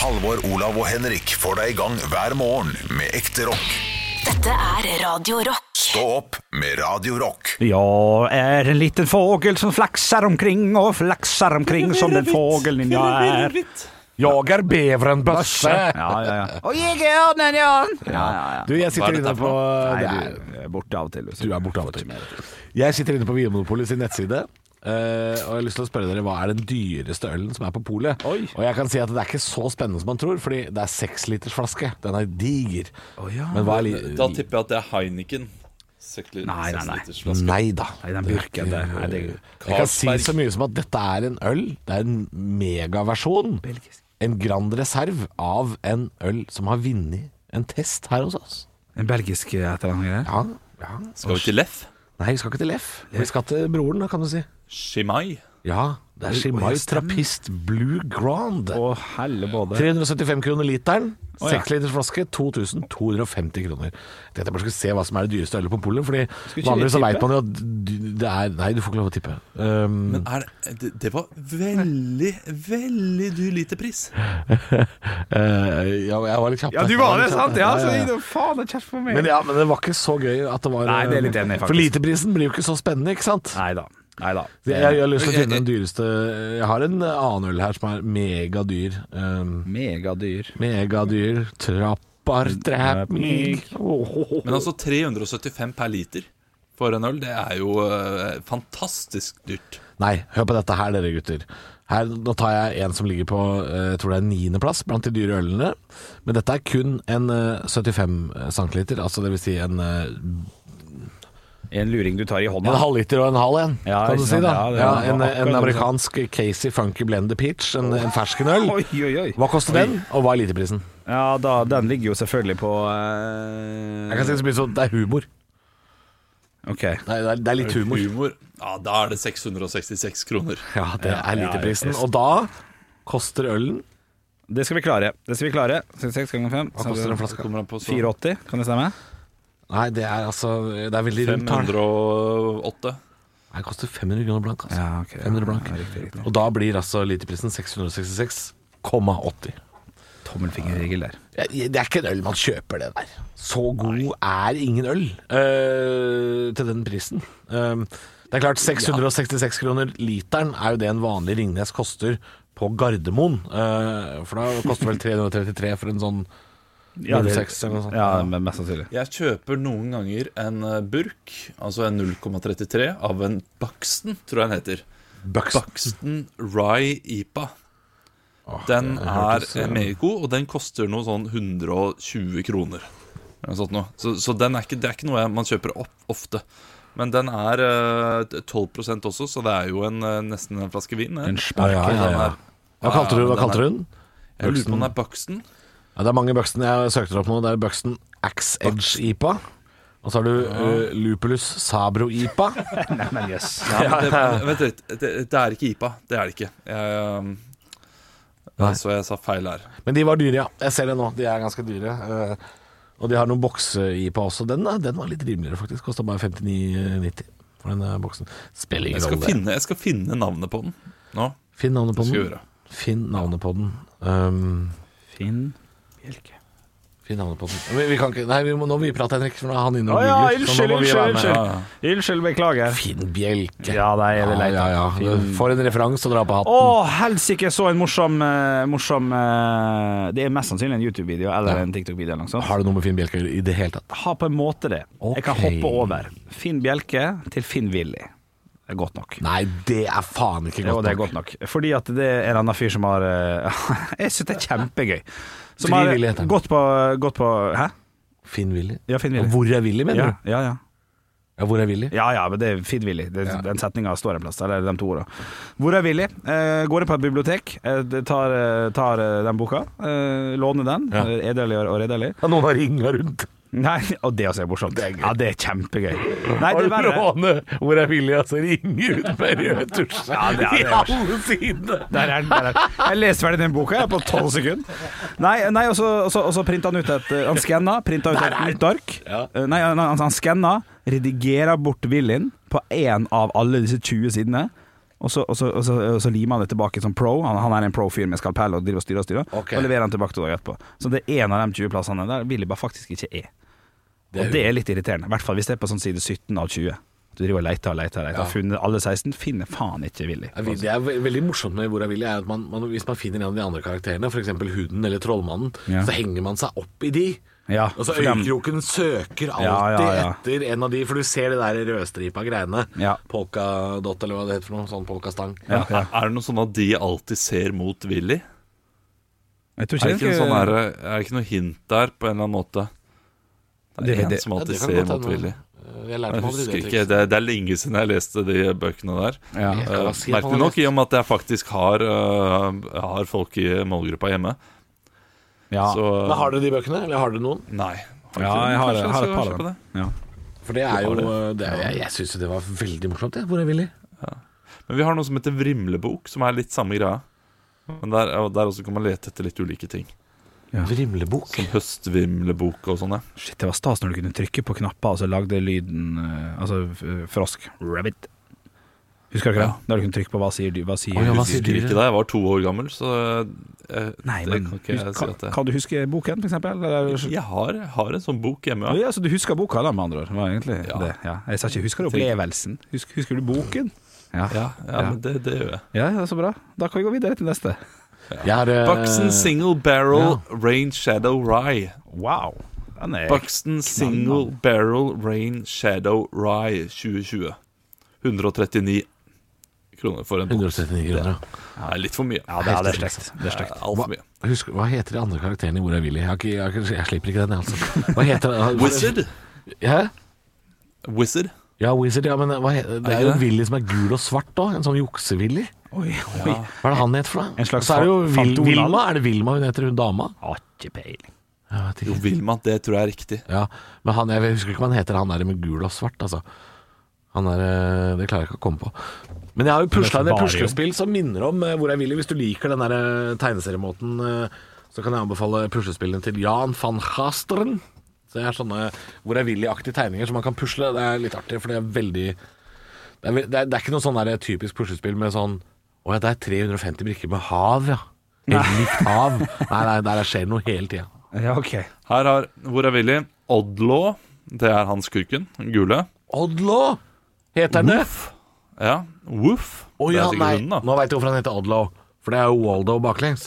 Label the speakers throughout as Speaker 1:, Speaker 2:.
Speaker 1: Halvor, Olav og Henrik får deg i gang hver morgen med ekte rock.
Speaker 2: Dette er Radio Rock.
Speaker 1: Stå opp med Radio Rock.
Speaker 3: Jeg er en liten fågel som flakser omkring og flakser omkring som den fågelen jeg er.
Speaker 4: Jeg er beveren Bøsse.
Speaker 3: Ja, ja, ja. Og jeg er ørnen, Jan. Ja, ja, ja.
Speaker 4: Du, jeg sitter inne på
Speaker 3: Nei,
Speaker 4: det er-
Speaker 3: du er borte av og til. du.
Speaker 4: du er borte av og til. Jeg sitter inne på Vinmonopolet sin nettside. eh, og jeg har lyst til å spørre dere Hva er den dyreste ølen som er på polet?
Speaker 3: Oi.
Speaker 4: Og jeg kan si at det er ikke så spennende som man tror, Fordi det er sekslitersflaske. Den er diger. Men hva er li
Speaker 5: Da tipper jeg at det er Heineken. Sekli-
Speaker 3: Nei, nei, Mm. nei.
Speaker 5: sekslitersflaske.
Speaker 4: Nei da.
Speaker 3: Nei, den Birken, det er- det er-
Speaker 4: Jeg kan si så mye som at dette er en øl. Det er en megaversjon. En grand reserve av en øl som har vunnet en test her hos oss.
Speaker 3: En belgisk et eller annet greier.
Speaker 4: Ja, ja.
Speaker 5: Skal vi til Leff?
Speaker 4: Nei, vi skal ikke til Leff. Vi skal til broren, da, kan du si.
Speaker 5: Chimay?
Speaker 4: Ja, det er Chimay Trappist Blue Grand.
Speaker 3: Å, helle både.
Speaker 4: 375 kroner literen.
Speaker 3: Å, ja.
Speaker 4: 6 liters flaske, 2250 kroner. Jeg tenkte jeg bare skulle se hva som er det dyreste ølet på polet. Fordi
Speaker 3: ikke
Speaker 4: vanligvis
Speaker 3: vi
Speaker 4: så
Speaker 3: tippe?
Speaker 4: veit man jo at du- det er Nei, du får ikke lov å tippe. Um,
Speaker 5: Men er det, det, det var veldig, veldig dyr lite pris.
Speaker 4: eh, ja, jeg var litt kjapp.
Speaker 3: Ja,
Speaker 4: der.
Speaker 3: du
Speaker 4: Jeg
Speaker 3: var det,
Speaker 4: litt
Speaker 3: sant?
Speaker 4: kjapp der.
Speaker 3: Ja, så gir det faen kjeft for meg.
Speaker 4: Men ja, men det var ikke så gøy at det var eh,
Speaker 3: Nei, det er litt enig, faktisk.
Speaker 4: For liteprisen blir jo ikke så spennende, ikke sant?
Speaker 3: Nei Eh, da. Nei da.
Speaker 4: Jeg, jeg, har lyst til å finne den dyreste Jeg har en annen øl her som er megadyr. Um,
Speaker 3: Megadyr.
Speaker 4: Megadyr Trappar trap mig
Speaker 5: Men altså 375 per liter for en øl, det er jo eh, fantastisk dyrt.
Speaker 4: Nei, hør på dette her dere gutter her, Nå tar jeg en som ligger på eh, Jeg tror det er 9. plass blant de dyre ølene Men dette er kun en eh, 75 centiliter Altså det vil si en, eh,
Speaker 3: En luring du tar i
Speaker 4: en
Speaker 3: hånda.
Speaker 4: halv liter og en halv en
Speaker 3: Ja,
Speaker 4: Kan
Speaker 3: ikke
Speaker 4: du si
Speaker 3: sant?
Speaker 4: da
Speaker 3: Ja,
Speaker 4: ja,
Speaker 3: det er
Speaker 4: en, eh,
Speaker 3: akkurat det
Speaker 4: en
Speaker 3: samme.
Speaker 4: amerikansk Casey Funky Blend Peach En, en ferskenøl
Speaker 3: Oi, oi, oi.
Speaker 4: Hva koster den, og hva er literprisen?
Speaker 3: Ja, da, den ligger jo selvfølgelig på eh,
Speaker 4: Jeg kan si det så mye som det er humor
Speaker 3: Ok.
Speaker 4: Det er, det er- det er litt humor
Speaker 5: Humor. Ja, da er det 666 kroner.
Speaker 4: Ja, det er
Speaker 3: ja,
Speaker 4: literprisen Og da koster ølen
Speaker 3: Det skal vi klare. Det skal vi klare. 66 ganger 5
Speaker 4: Hva koster en flaske?
Speaker 5: Kommer an på så
Speaker 3: 84, kan det stemme?
Speaker 4: Nei, det er altså Det er veldig rundt tall.
Speaker 5: 508.
Speaker 4: Nei, Det koster 500 kroner blank, altså.
Speaker 3: Ja, ok.
Speaker 4: 500 blank.
Speaker 3: Ja, riktig, riktig.
Speaker 4: Og da blir altså literprisen 666,80.
Speaker 3: Tommelfingerregel der.
Speaker 4: Ja, Det er ikke en øl man kjøper, det der. Så god er ingen øl eh, til den prisen. Eh, det er klart, 666 kroner literen er jo det en vanlig Ringnes koster på Gardermoen. Eh, for da koster vel 333 for en sånn 06 eller noe sånt.
Speaker 3: Ja, men mest sannsynlig.
Speaker 5: Jeg kjøper noen ganger en eh, burk, altså en 0,33, av en Buxton, tror jeg den heter.
Speaker 4: Bucks.
Speaker 5: Buxton Rye IPA. Den er eh, meget god, og den koster noe sånn 120 kroner. Eller noe sånt noe. Så, så den er ikke, det er ikke noe jeg- man kjøper opp, ofte. Men den er eh, 12 også, så det er jo en, eh, nesten en flaske vin. eh.
Speaker 3: En
Speaker 4: Ja,
Speaker 3: spark.
Speaker 4: ja, ja, ja. Hva kalte du, hva kalte du den?
Speaker 5: Jeg lurer på om den er Buxton.
Speaker 4: Ja, det er mange Buxton. Jeg søkte det opp nå. Det er Buxton Axe Edge IPA. Og så har du ø, Lupulus Sabro IPA.
Speaker 3: Nei, men jøss.
Speaker 5: Ja, men det, men, vent litt, det, det er ikke IPA. Det er det ikke. Jeg, um,
Speaker 4: Nei.
Speaker 5: Så jeg sa feil her.
Speaker 4: Men de var dyre, ja. Jeg ser det nå. De er ganske dyre. Eh, og de har noen bokse-IPA også. Den, er- den var litt rimeligere, faktisk. Kosta bare 59,90 for den eh, boksen. Spiller
Speaker 5: Jeg
Speaker 4: ingen
Speaker 5: skal,
Speaker 4: rolle.
Speaker 5: finne, jeg skal finne navnet på den nå.
Speaker 4: Finn navnet på
Speaker 5: Skal
Speaker 4: den.
Speaker 5: jeg gjøre.
Speaker 4: Finn navnet på den. Um,
Speaker 3: Finn Bjelke.
Speaker 4: Finn navnet på den. Men vi kan ikke Nei, vi må, nå må vi prate, Henrik. For nå er han inne
Speaker 3: Å
Speaker 4: og
Speaker 3: ja,
Speaker 4: googler. så
Speaker 3: unnskyld,
Speaker 4: nå må vi
Speaker 3: unnskyld.
Speaker 4: være med.
Speaker 3: Unnskyld,
Speaker 5: ja.
Speaker 3: unnskyld beklager.
Speaker 4: Finn Bjelke.
Speaker 3: Ja, det er det
Speaker 4: ja,
Speaker 3: leit.
Speaker 4: ja, ja.
Speaker 3: Finn-
Speaker 4: For en referanse å dra på
Speaker 3: Å,
Speaker 4: hatten.
Speaker 3: helsike, jeg så en morsom, eh, morsom eh, Det er mest sannsynlig en YouTube-video eller en TikTok-video. eller noe sånt.
Speaker 4: Har det noe med Finn Bjelke å gjøre i det hele tatt?
Speaker 3: Har på en måte det. Jeg kan
Speaker 4: Ok.
Speaker 3: hoppe over. Finn Bjelke til Finn Willy. Det er godt nok.
Speaker 4: Nei, det er faen ikke
Speaker 3: Jo,
Speaker 4: godt
Speaker 3: det er
Speaker 4: nok.
Speaker 3: godt nok. Fordi at det er en annen fyr som har eh, Jeg syns det er kjempegøy. Som har
Speaker 4: Frivillig heter han.
Speaker 3: gått på, gått på Hæ?
Speaker 4: Finn Willy.
Speaker 3: Ja, Finn Willy.
Speaker 4: Og Hvor er Willy, mener
Speaker 3: Ja,
Speaker 4: du?
Speaker 3: ja, ja.
Speaker 4: Ja, hvor er Willy?
Speaker 3: Ja ja, men det er Finn-Willy.
Speaker 4: Ja.
Speaker 3: Den setninga står en plass. Eller de to orda. Hvor er Willy? Eh, går inn på et bibliotek, eh, det tar, eh, tar eh, den boka, eh, låner den.
Speaker 4: Ja.
Speaker 3: eh, Edelig og og redelig.
Speaker 4: Ja, noen har ringa rundt.
Speaker 3: Nei, og det også er morsomt.
Speaker 4: Det er gøy.
Speaker 3: ja, det er kjempegøy. Nei, det er
Speaker 4: Har du
Speaker 3: verre.
Speaker 4: råne hvor er Willy, altså ringer ut med rød tusj
Speaker 3: Ja, det er det.
Speaker 4: i alle sidene.
Speaker 3: Der er den. der er den. Jeg leste ferdig den boka jeg, på tolv sekunder. Nei, nei og så- og så og så printa han ut et eh, Han skanna, printa ut et nytt ark.
Speaker 4: Ja.
Speaker 3: Eh, Nei, han, han skanna, redigerer bort Willyen på én av alle disse 20 sidene. Og så, og, så, og, så, og så limer han det tilbake som pro. Han, han er en pro-fyr med skalpell og driver og styrer og styrer.
Speaker 4: Ok.
Speaker 3: Og leverer han tilbake to dager etterpå. Så det er en av de 20 plassene der Willy bare faktisk ikke er.
Speaker 4: Det er
Speaker 3: og det er litt irriterende. I hvert fall hvis det er på sånn side 17 av 20. Du driver og leter og leter og leter. Har Funnet alle 16, finner faen ikke Willy.
Speaker 4: Jeg vil- Det er ve- veldig morsomt med Hvor jeg vil, er at man, man, hvis man finner en av de andre karakterene, f.eks. huden eller trollmannen,
Speaker 3: Ja.
Speaker 4: så henger man seg opp i de.
Speaker 3: Ja,
Speaker 4: Og så
Speaker 3: for dem-
Speaker 4: Øyekroken søker alltid
Speaker 3: Ja, ja, ja.
Speaker 4: etter en av de, for du ser det der rødstripa greiene.
Speaker 3: Ja.
Speaker 4: Polkadott, eller hva det heter for noe. Sånn polkastang.
Speaker 3: Ja, ja.
Speaker 5: Er, er det noe sånn at de alltid ser mot Willy?
Speaker 3: Jeg tror
Speaker 5: Er det ikke,
Speaker 3: det
Speaker 5: en sånn her, er det ikke noe hint der på en eller annen måte? Det
Speaker 3: Det-
Speaker 5: er
Speaker 3: det-
Speaker 5: en som
Speaker 4: Ja, det
Speaker 5: alltid
Speaker 4: kan
Speaker 5: ser
Speaker 4: godt
Speaker 5: mot
Speaker 4: hende. Eh,
Speaker 5: Willy.
Speaker 4: Jeg lærte
Speaker 5: Jeg
Speaker 4: meg aldri
Speaker 5: husker
Speaker 4: det
Speaker 5: ikke,
Speaker 4: trikset.
Speaker 5: det, det er lenge siden jeg leste de bøkene der.
Speaker 3: Ja.
Speaker 5: Eh,
Speaker 4: kan si at man
Speaker 5: Merkelig
Speaker 4: har
Speaker 5: nok, i og med at jeg faktisk har, eh, har folk i målgruppa hjemme.
Speaker 3: ja.
Speaker 5: Så
Speaker 4: Men har dere de bøkene, eller har dere noen?
Speaker 5: Nei. ikke
Speaker 3: ja,
Speaker 5: det.
Speaker 3: jeg har,
Speaker 5: Kanskje
Speaker 3: jeg har
Speaker 5: skal
Speaker 3: et par av
Speaker 5: kjøpe
Speaker 3: dem.
Speaker 5: det.
Speaker 3: Ja.
Speaker 4: For det er jo det er, Jeg, jeg syns jo det var veldig morsomt, jeg, Hvor jeg ville.
Speaker 5: Men vi har noe som heter Vrimlebok, som er litt samme greia. Men der, og der også kan man lete etter litt ulike ting. Sånn
Speaker 4: Vrimlebok.
Speaker 5: Høstvimlebok og sånne.
Speaker 3: Shit, det var stas når du kunne trykke på knapper, og så lagde lyden eh, Altså f- frosk. Rabbit. Husker du ikke
Speaker 5: Ja.
Speaker 3: det? Da du kunne trykke på hva sier du, hva sier
Speaker 4: Å, ja, hva sier
Speaker 5: Jeg husker
Speaker 4: dyret?
Speaker 5: ikke det, jeg var to år gammel, så eh,
Speaker 3: Nei,
Speaker 5: det
Speaker 3: men
Speaker 5: kan ikke jeg
Speaker 3: husk-
Speaker 5: si
Speaker 3: kan,
Speaker 5: at det
Speaker 3: kan du huske boken, for eksempel? Eller?
Speaker 5: Jeg har, jeg har en sånn bok hjemme,
Speaker 3: Å
Speaker 5: ja.
Speaker 3: Ja, så du husker boka, da, med andre ord. Det Var egentlig
Speaker 5: Ja.
Speaker 3: det. Ja. Jeg sa ikke 'husker du opplevelsen'? Husker, husker du boken? Ja.
Speaker 5: Ja, ja, men det, det gjør jeg.
Speaker 3: Ja, ja, så bra. Da kan vi gå videre til neste.
Speaker 4: Jeg har eh,
Speaker 5: Buxton Single Barrel Rain Shadow Rye.
Speaker 3: Wow. Den er
Speaker 5: Buxton Single Barrel Rain Shadow Rye 2020. 139 kroner for en bok.
Speaker 4: 139 kroner. ja.
Speaker 5: Det er litt for mye.
Speaker 3: Ja, det er, det er slekt. Det er slekt.
Speaker 5: Altfor mye.
Speaker 4: Husk, hva heter de andre karakterene i Hvor jeg vil? Jeg, har ikke, jeg, har ikke, jeg slipper ikke den, jeg, altså. Hva heter
Speaker 5: Wizard.
Speaker 4: Hæ?
Speaker 5: Wizard.
Speaker 4: Ja, Wizard, ja, men hva heter, det
Speaker 5: Er
Speaker 4: er jo
Speaker 5: det?
Speaker 4: en Willy som er gul og svart òg. En sånn jukse-Willy.
Speaker 3: Oi, oi.
Speaker 4: Hva er det han heter for noe?
Speaker 3: En slags
Speaker 4: Og så er det jo Vil
Speaker 3: Fantomen.
Speaker 4: Vilma. Er det Vilma hun heter, hun dama?
Speaker 3: Har ikke peiling.
Speaker 4: Jeg vet
Speaker 5: Jo,
Speaker 4: ikke.
Speaker 5: Vilma, det tror jeg er riktig.
Speaker 4: Ja, men han, jeg husker ikke hva han heter, han der med gul og svart, altså. Han er eh, Det klarer jeg ikke å komme på. Men jeg har jo pusla inn et
Speaker 3: Bare jo.
Speaker 4: puslespill som minner om eh, Hvor jeg vil. Hvis du liker den der eh, tegneseriemåten, eh, så kan jeg anbefale puslespillene til Jan van Hasteren. Så jeg har sånne Hvor jeg vil-aktige tegninger som man kan pusle. Det er litt artig, for det er veldig Det er, ve- det er, det er ikke noe sånn der typisk puslespill med sånn Å ja, det er 350 brikker med hav, ja. Helt likt hav. Nei, nei, der skjer det noe hele tida.
Speaker 3: Ja, ok.
Speaker 5: Her har Hvor er Willy? Oddlaw. Det er han skurken. den Gule.
Speaker 4: Oddlaw heter den det.
Speaker 5: Ja. Woof.
Speaker 4: Å
Speaker 5: det
Speaker 4: ja,
Speaker 5: er sikkert
Speaker 4: nei.
Speaker 5: hunden, da.
Speaker 4: Nå veit jeg hvorfor han heter Odlo. For det er jo Waldo baklengs.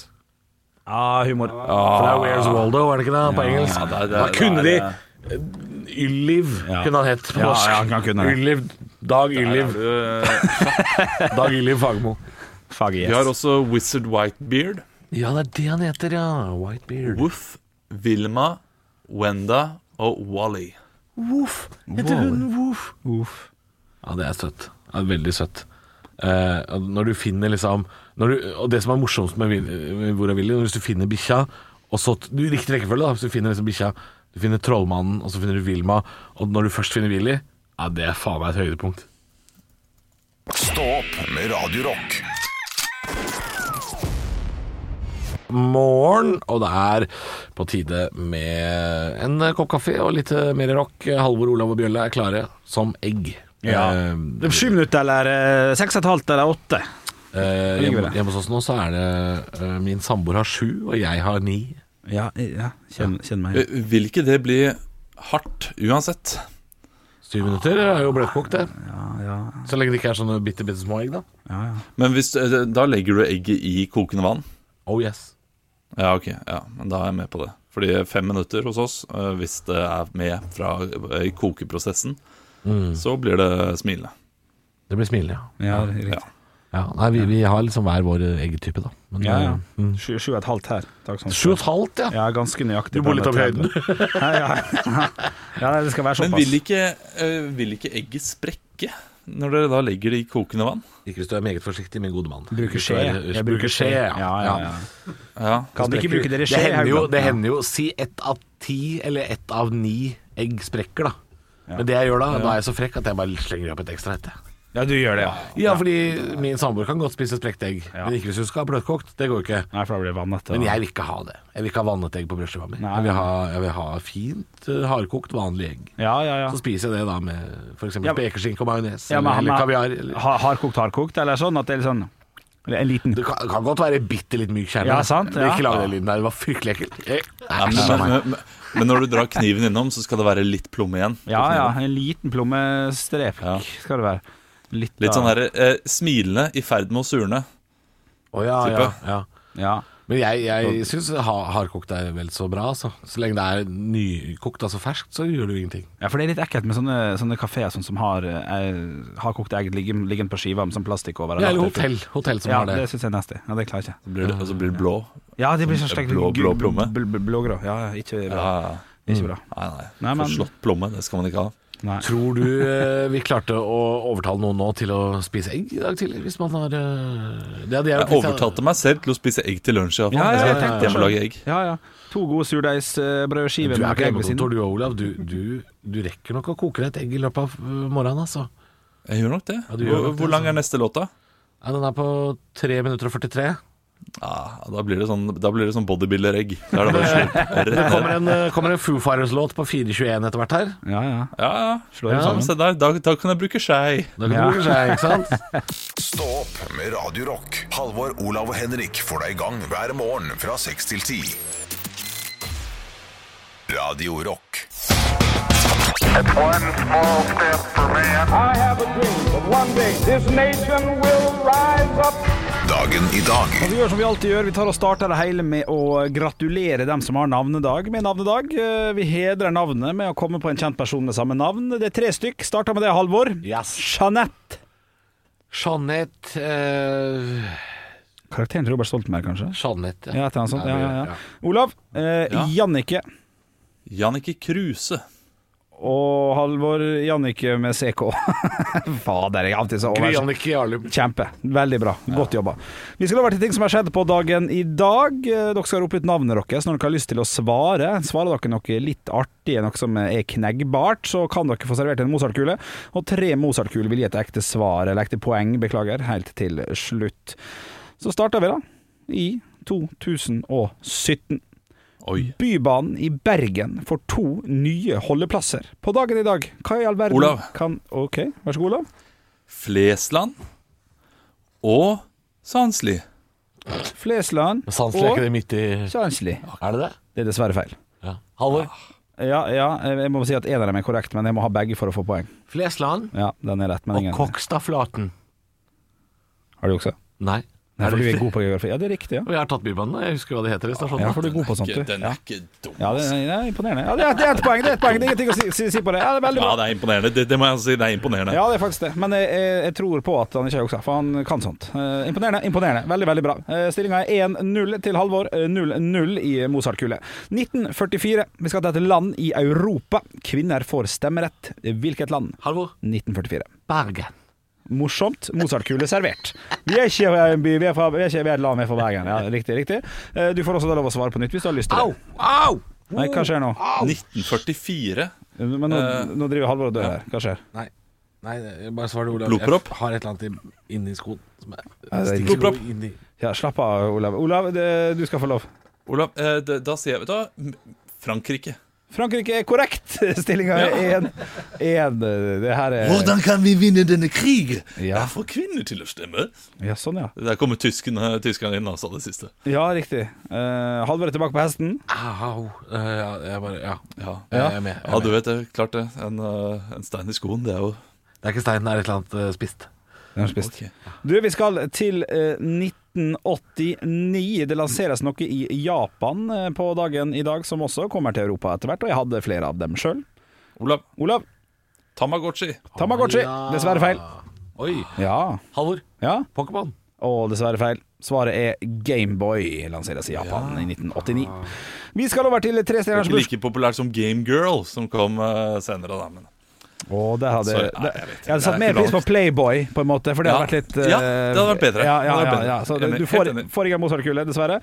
Speaker 3: Ah, humor.
Speaker 4: For det er Where's Waldo, er det ikke det? På engelsk.
Speaker 5: ja, det er- det
Speaker 4: da
Speaker 5: er-
Speaker 4: kunne de Eh,
Speaker 5: det er-
Speaker 4: Ylliv
Speaker 3: Ja.
Speaker 4: kunne han hett på
Speaker 3: Ja,
Speaker 4: norsk.
Speaker 3: ja, han kunne det.
Speaker 4: Ylliv. Dag Ylliv.
Speaker 5: Du,
Speaker 4: Dag Ylliv Fagermo.
Speaker 3: Fag
Speaker 5: Vi har også Wizard Whitebeard.
Speaker 4: Ja, det er det han heter, ja. Whitebeard.
Speaker 5: Woof, Vilma, Wenda og Wally.
Speaker 4: Woof. Heter hun Woof?
Speaker 3: Uff.
Speaker 4: Ja, det er søtt. Ja, det er veldig søtt. Eh, og når du finner liksom når du, Og det som er morsomst med, Vil- med Hvor er Willy, hvis du finner bikkja og så, du, i Riktig rekkefølge, da. Hvis du finner liksom bikkja, du finner trollmannen, og så finner du Vilma. Og når du først finner Willy, ja, det er faen meg et høydepunkt.
Speaker 1: Stå opp med Radio Rock.
Speaker 4: Morgen, og det er på tide med en kopp kaffe og litt eh, mer rock. Halvor, Olav og Bjølle er klare som egg.
Speaker 3: Ja.
Speaker 4: Eh,
Speaker 3: Det er sju minutter, eller eh, seks og et halvt, eller åtte.
Speaker 4: eh,
Speaker 3: ligger
Speaker 4: hjemme,
Speaker 3: det.
Speaker 4: hjemme hos oss nå så er det eh, Min samboer har sju, og jeg har ni.
Speaker 3: Ja, ja. Kjenn, kjenn meg.
Speaker 5: Eh, Vil ikke det bli hardt uansett?
Speaker 4: Syv minutter er jo bløtkokt, det.
Speaker 3: Ja, ja,
Speaker 4: Så lenge det ikke er sånne bitte, bitte små egg, da.
Speaker 3: ja, ja.
Speaker 5: Men hvis, eh, da legger du egget i kokende vann?
Speaker 4: Oh yes.
Speaker 5: Ja, ok. Ja, men da er jeg med på det. Fordi fem minutter hos oss, eh, hvis det er med fra eh, i kokeprosessen, så blir det smilende.
Speaker 4: Det blir smilende, ja.
Speaker 3: ja, riktig.
Speaker 4: ja. Nei, vi, vi har liksom hver vår eggtype, da. Men,
Speaker 3: ja, ja.
Speaker 4: eh,
Speaker 3: Sju, sju og et halvt her. Takk sånn.
Speaker 4: Sju og et halvt, ja.
Speaker 3: Ja, ganske nøyaktig.
Speaker 4: Du bor litt opp i høyden.
Speaker 3: ja, ja. ja, det skal være
Speaker 5: Men
Speaker 3: såpass.
Speaker 5: vil ikke, eh, vil ikke egget sprekke når dere da legger det i kokende vann?
Speaker 4: Ikke hvis du er meget forsiktig, min gode mann.
Speaker 3: Bruker
Speaker 4: Hvis du
Speaker 3: skje.
Speaker 4: er-
Speaker 3: Jeg
Speaker 4: hvis du
Speaker 3: bruker
Speaker 4: bruker skje,
Speaker 3: skje.
Speaker 4: ja.
Speaker 3: Ja, ja, ja.
Speaker 5: Ja.
Speaker 3: Kan dere ikke
Speaker 4: Sprekker.
Speaker 3: bruke dere skje?
Speaker 4: det hender, jo,
Speaker 3: Haugland?
Speaker 4: det
Speaker 3: Ja.
Speaker 4: hender jo Si ett av ti eller ett av ni egg sprekker, da. Men det jeg gjør da, da er jeg så frekk at jeg bare slenger opp et ekstra et. jeg.
Speaker 3: Ja, du gjør det, ja.
Speaker 4: Ja, fordi min samboer kan godt spise sprekt egg,
Speaker 3: Ja.
Speaker 4: men ikke hvis hun skal ha bløtkokt. Det går ikke.
Speaker 3: Nei, for da blir det vannete.
Speaker 4: Men
Speaker 3: da.
Speaker 4: jeg vil ikke ha det. Jeg vil ikke ha vannet egg på brødskiva mi.
Speaker 3: Nei.
Speaker 4: Jeg, vil ha- jeg vil ha fint, eh, hardkokt, vanlig egg.
Speaker 3: Ja, ja, ja.
Speaker 4: Så spiser jeg det da med f.eks.
Speaker 3: Ja,
Speaker 4: Ja,
Speaker 3: men-
Speaker 4: spekeskinke og majones
Speaker 3: ja
Speaker 4: eller,
Speaker 3: men
Speaker 4: eller
Speaker 3: han
Speaker 4: kaviar.
Speaker 3: er
Speaker 4: Eller.
Speaker 3: ha- hardkokt, hardkokt, eller sånn at det er litt sånn eller En liten
Speaker 4: Det kan, kan godt være bitte litt myk kjerne.
Speaker 3: Ja, sant,
Speaker 4: Men
Speaker 3: ja.
Speaker 4: Ikke lag den lyden der. Det var fryktelig ekkelt. Eh,
Speaker 5: Nei,
Speaker 4: æsj,
Speaker 5: men,
Speaker 4: meg.
Speaker 5: men, men, men når du drar kniven innom, så skal det være litt plomme igjen. på
Speaker 3: Ja, ja,
Speaker 5: kniven.
Speaker 3: en liten plommestrek
Speaker 5: Ja.
Speaker 3: skal det være. Litt,
Speaker 5: Litt
Speaker 3: av-
Speaker 5: sånn her, eh, smilende, i ferd med å surne.
Speaker 4: Å, ja, ja,
Speaker 5: Type.
Speaker 4: ja.
Speaker 3: Ja.
Speaker 4: Men jeg, jeg syns ha, hardkokt er vel så bra, altså. Så lenge det er nykokt, altså ferskt, så gjør det jo ingenting.
Speaker 3: ja, for det er litt ekkelt med sånne, sånne kafeer sånn som har, eh, har kokt egg liggende liggende på skiva med sånn plastikk over.
Speaker 4: Ja, eller hotell, hotell som
Speaker 3: Ja,
Speaker 4: har det.
Speaker 3: det syns jeg er nasty. Ja, det klarer jeg ikke.
Speaker 5: Så blir det, og så blir det blå.
Speaker 3: Ja, det blir så sterkt
Speaker 5: Blå- blå
Speaker 3: gul-
Speaker 5: plomme.
Speaker 3: bl- bl- Blågrå. Ja, ja, ikke
Speaker 5: Ja,
Speaker 3: bra.
Speaker 5: ja.
Speaker 3: Ikke bra.
Speaker 5: nei,
Speaker 3: Nei,
Speaker 5: nei.
Speaker 3: men-
Speaker 5: Forslått plomme, det skal man ikke ha.
Speaker 3: Nei.
Speaker 4: Tror du eh, vi klarte å overtale noen nå til å spise egg i dag tidlig? Hvis man har eh, Det hadde jeg
Speaker 5: Jeg
Speaker 4: gjort. hvis
Speaker 5: overtalte meg selv til å spise egg til lunsj. i hvert fall.
Speaker 3: Ja, ja,
Speaker 5: Jeg
Speaker 3: jeg
Speaker 5: skal
Speaker 3: tenkte
Speaker 5: hjemmelage
Speaker 3: selv.
Speaker 5: egg.
Speaker 3: Ja, ja. To gode surdeigsbrødskiver
Speaker 4: Du er
Speaker 3: med
Speaker 4: på
Speaker 3: egg ved
Speaker 4: hjemmekontor
Speaker 3: siden.
Speaker 4: du òg, Olav. Du, du, du rekker nok å koke deg et egg i løpet av eh, morgenen, altså.
Speaker 5: Jeg gjør nok det.
Speaker 4: du gjør
Speaker 5: Hvor,
Speaker 4: nok det,
Speaker 5: hvor lang er neste låt, da?
Speaker 4: Ja, den er på 3 minutter og 43.
Speaker 5: Ah, da blir det sånn, da blir det sånn bodybuilder-egg. Da er det bare slutt. Rett
Speaker 4: Det
Speaker 5: ned.
Speaker 4: kommer en, eh, kommer en Foo Fighters-låt på 4.21 etter hvert her.
Speaker 3: Ja, ja.
Speaker 5: Ja, ja.
Speaker 3: Slår
Speaker 5: ja
Speaker 3: ja. sammen.
Speaker 5: se der, da, da kan jeg bruke skei.
Speaker 4: Da kan
Speaker 3: Ja.
Speaker 4: det seg, ikke sant?
Speaker 1: Stå opp med Radio Rock. Halvor, Olav og Henrik får deg i gang hver morgen fra 6 til 10. Radio Rock.
Speaker 6: One small step for man.
Speaker 7: I have a dream that one day this nation will rise up.
Speaker 1: Dagen i dag.
Speaker 3: Vi gjør som vi alltid gjør, vi tar og starter det hele med å gratulere dem som har navnedag med navnedag. Eh, Vi hedrer navnet med å komme på en kjent person med samme navn. Det er tre stykk. Starter med det, Halvor.
Speaker 4: Yes.
Speaker 3: Jeanette.
Speaker 4: Jeanette eh,
Speaker 3: Karakteren til Robert Stoltenberg, kanskje?
Speaker 4: Jeanette,
Speaker 3: Ja, et eller annet sånt. Ja, ja,
Speaker 4: Ja.
Speaker 3: ja. Olav. Eh,
Speaker 5: Ja.
Speaker 3: Jannicke.
Speaker 5: Jannicke Kruse.
Speaker 3: Og Halvor Jannicke med CK. Fader, jeg er alltid så
Speaker 4: Gry
Speaker 3: over.
Speaker 4: Jannicke Jarlum.
Speaker 3: Kjempe. Veldig bra. Godt jobba. Vi skal over til ting som har skjedd på dagen i dag. Eh, Dere skal rope ut navnet deres når dere har lyst til å svare. Svarer dere noe litt artig, noe som er kneggbart, så kan dere få servert en Mozart-kule. Og tre Mozart-kuler vil gi et ekte svar, eller ekte poeng, beklager, helt til slutt. Så starter vi, da. I 2017.
Speaker 5: Oi.
Speaker 3: Bybanen i Bergen får to nye holdeplasser på dagen i dag. Hva i all verden
Speaker 5: Olav.
Speaker 3: kan OK, vær så god, Olav.
Speaker 5: Flesland og Sandsli.
Speaker 3: Flesland
Speaker 4: Sanselig er ikke det midt i
Speaker 3: Sandsli.
Speaker 4: Er det det?
Speaker 3: Det er dessverre feil.
Speaker 4: Ja. Halvor.
Speaker 3: Ja, ja, jeg må si at en av dem er korrekt, men jeg må ha begge for å få poeng.
Speaker 4: Flesland
Speaker 3: Ja, den er rett, men
Speaker 4: og
Speaker 3: ingen
Speaker 4: Kokstadflaten.
Speaker 3: Har du også?
Speaker 4: Nei.
Speaker 3: Nei,
Speaker 4: Er
Speaker 3: for du
Speaker 4: det
Speaker 3: er god på geografi. Ja, det er riktig, ja.
Speaker 4: Og jeg har tatt Bybanen. Jeg husker hva det heter i stasjonen.
Speaker 3: Ja, for du er god på sånt, du.
Speaker 5: Den
Speaker 3: Ja,
Speaker 5: er ikke dum.
Speaker 3: ja det, er, det er imponerende. Ja, det er, det er et poeng, det er et poeng. Det er ingenting å si, si, si på det. Ja, det er veldig
Speaker 5: Ja,
Speaker 3: bra.
Speaker 5: det er imponerende. Det, det må jeg si. Det er imponerende.
Speaker 3: Ja, det er faktisk det. Men jeg, jeg, jeg tror på at han ikke har juksa, for han kan sånt. Eh, imponerende, imponerende. Veldig, veldig bra. Uh, Stillinga er 1-0 til Halvor, eh, 0-0 i Mozart-kule. 1944. Vi skal til et land i Europa. Kvinner får stemmerett. Hvilket land?
Speaker 4: Halvor.
Speaker 3: 1944.
Speaker 4: Bergen.
Speaker 3: Morsomt. Mozartkule servert. Vi er ikke fra en by, vi er, fra, vi er, ikke, vi er et land, vi er fra Bergen. Ja, riktig, riktig. Eh, Du får også da lov å svare på nytt hvis du har lyst til det.
Speaker 4: Au!
Speaker 3: Nei, hva skjer nå?
Speaker 5: 1944.
Speaker 3: Men nå, nå driver Halvor og dør her. Hva skjer?
Speaker 4: Nei. Nei, det- bare svar det, Olav.
Speaker 5: Blodpropp?
Speaker 4: Jeg har et eller annet i- inni skoen som er
Speaker 3: det er
Speaker 4: stikker
Speaker 5: blodpropp.
Speaker 4: noe inn i-
Speaker 3: Ja, slapp av, Olav. Olav, det, du skal få lov.
Speaker 5: Olav, eh, da, da sier jeg Vet du hva? M- Frankrike.
Speaker 3: Frankrike er korrekt! Stillinga er 1-1. Det her er
Speaker 5: kan vi vinne denne krigen?
Speaker 3: Ja.
Speaker 5: Jeg får kvinner til å stemme.
Speaker 3: Ja, sånn, ja.
Speaker 5: Der kommer tyskerne, tyskerne inn, altså, det siste.
Speaker 3: Ja, riktig. Eh, Halvor er tilbake på hesten.
Speaker 4: Au. Eh, Ja, jeg bare Ja.
Speaker 5: Ja.
Speaker 4: Jeg er med. Jeg
Speaker 5: Ja,
Speaker 4: er
Speaker 5: du
Speaker 4: med.
Speaker 5: vet det. Klart det. En, eh, en stein i skoen, det er jo
Speaker 4: Det er ikke stein, det er et eller annet eh, spist.
Speaker 3: Den har spist.
Speaker 5: Ok.
Speaker 3: Du, vi skal til eh, 1989. Det lanseres noe i Japan eh, på dagen i dag, som også kommer til Europa etter hvert, og jeg hadde flere av dem sjøl.
Speaker 5: Olav,
Speaker 3: Olav,
Speaker 5: Tamagotchi.
Speaker 3: Tamagotchi.
Speaker 4: Ja.
Speaker 3: Dessverre feil.
Speaker 4: Oi.
Speaker 3: Ja.
Speaker 4: Halvor.
Speaker 3: ja.
Speaker 4: Pokémon.
Speaker 3: Og dessverre feil. Svaret er Gameboy, lanseres i Japan i 1989. Vi skal over til
Speaker 5: Det er
Speaker 3: trestjerners
Speaker 5: Ikke
Speaker 3: bursdag.
Speaker 5: like populært som Game Girl, som kom eh, senere, da. Men
Speaker 3: Og det hadde,
Speaker 5: Sorry,
Speaker 3: det,
Speaker 5: nei, jeg vet
Speaker 3: jeg,
Speaker 5: ikke.
Speaker 3: hadde satt
Speaker 5: Det er
Speaker 3: mer
Speaker 5: ikke
Speaker 3: pris på
Speaker 5: lov.
Speaker 3: Playboy, på en måte, for det hadde
Speaker 5: Ja.
Speaker 3: vært litt eh,
Speaker 5: Ja, det hadde vært bedre.
Speaker 3: Ja, ja,
Speaker 5: Det
Speaker 3: ja,
Speaker 5: hadde vært
Speaker 3: ja.
Speaker 5: bedre.
Speaker 3: Så
Speaker 5: Enig.
Speaker 3: du får,
Speaker 5: Helt enig.
Speaker 3: får ikke en Mozart-kule, dessverre.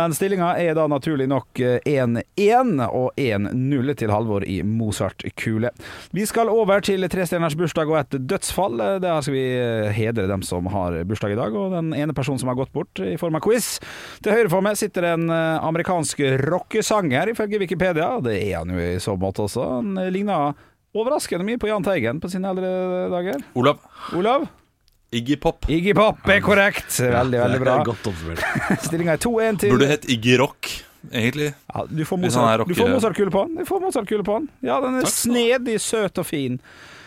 Speaker 3: Men stillinga er da naturlig nok eh, 1-1 og 1-0 til Halvor i Mozart-kule. Vi skal over til trestjerners bursdag og et dødsfall. Eh, Der skal vi eh, hedre dem som har bursdag i dag, og den ene personen som har gått bort i form av quiz. Til høyre for meg sitter en eh, amerikansk rockesanger, ifølge Wikipedia. Det er han jo i så måte også. Han eh, ligner overraskende mye på Jahn Teigen på sine eldre dager.
Speaker 5: Olav,
Speaker 3: Olav?
Speaker 5: Iggy Pop.
Speaker 3: Iggy Pop er korrekt. Veldig, veldig bra.
Speaker 4: Det er godt oppsummert.
Speaker 3: Stillinga er 2-1 til
Speaker 5: Burde hett Iggy Rock, egentlig.
Speaker 3: ja, Du får
Speaker 5: Hvis han er
Speaker 3: Mozart- du får
Speaker 5: rocker.
Speaker 3: Mozart-kule på han. Du får Mozart-kule på han. Ja, den er
Speaker 5: Takk skal du
Speaker 3: snedig, søt og fin.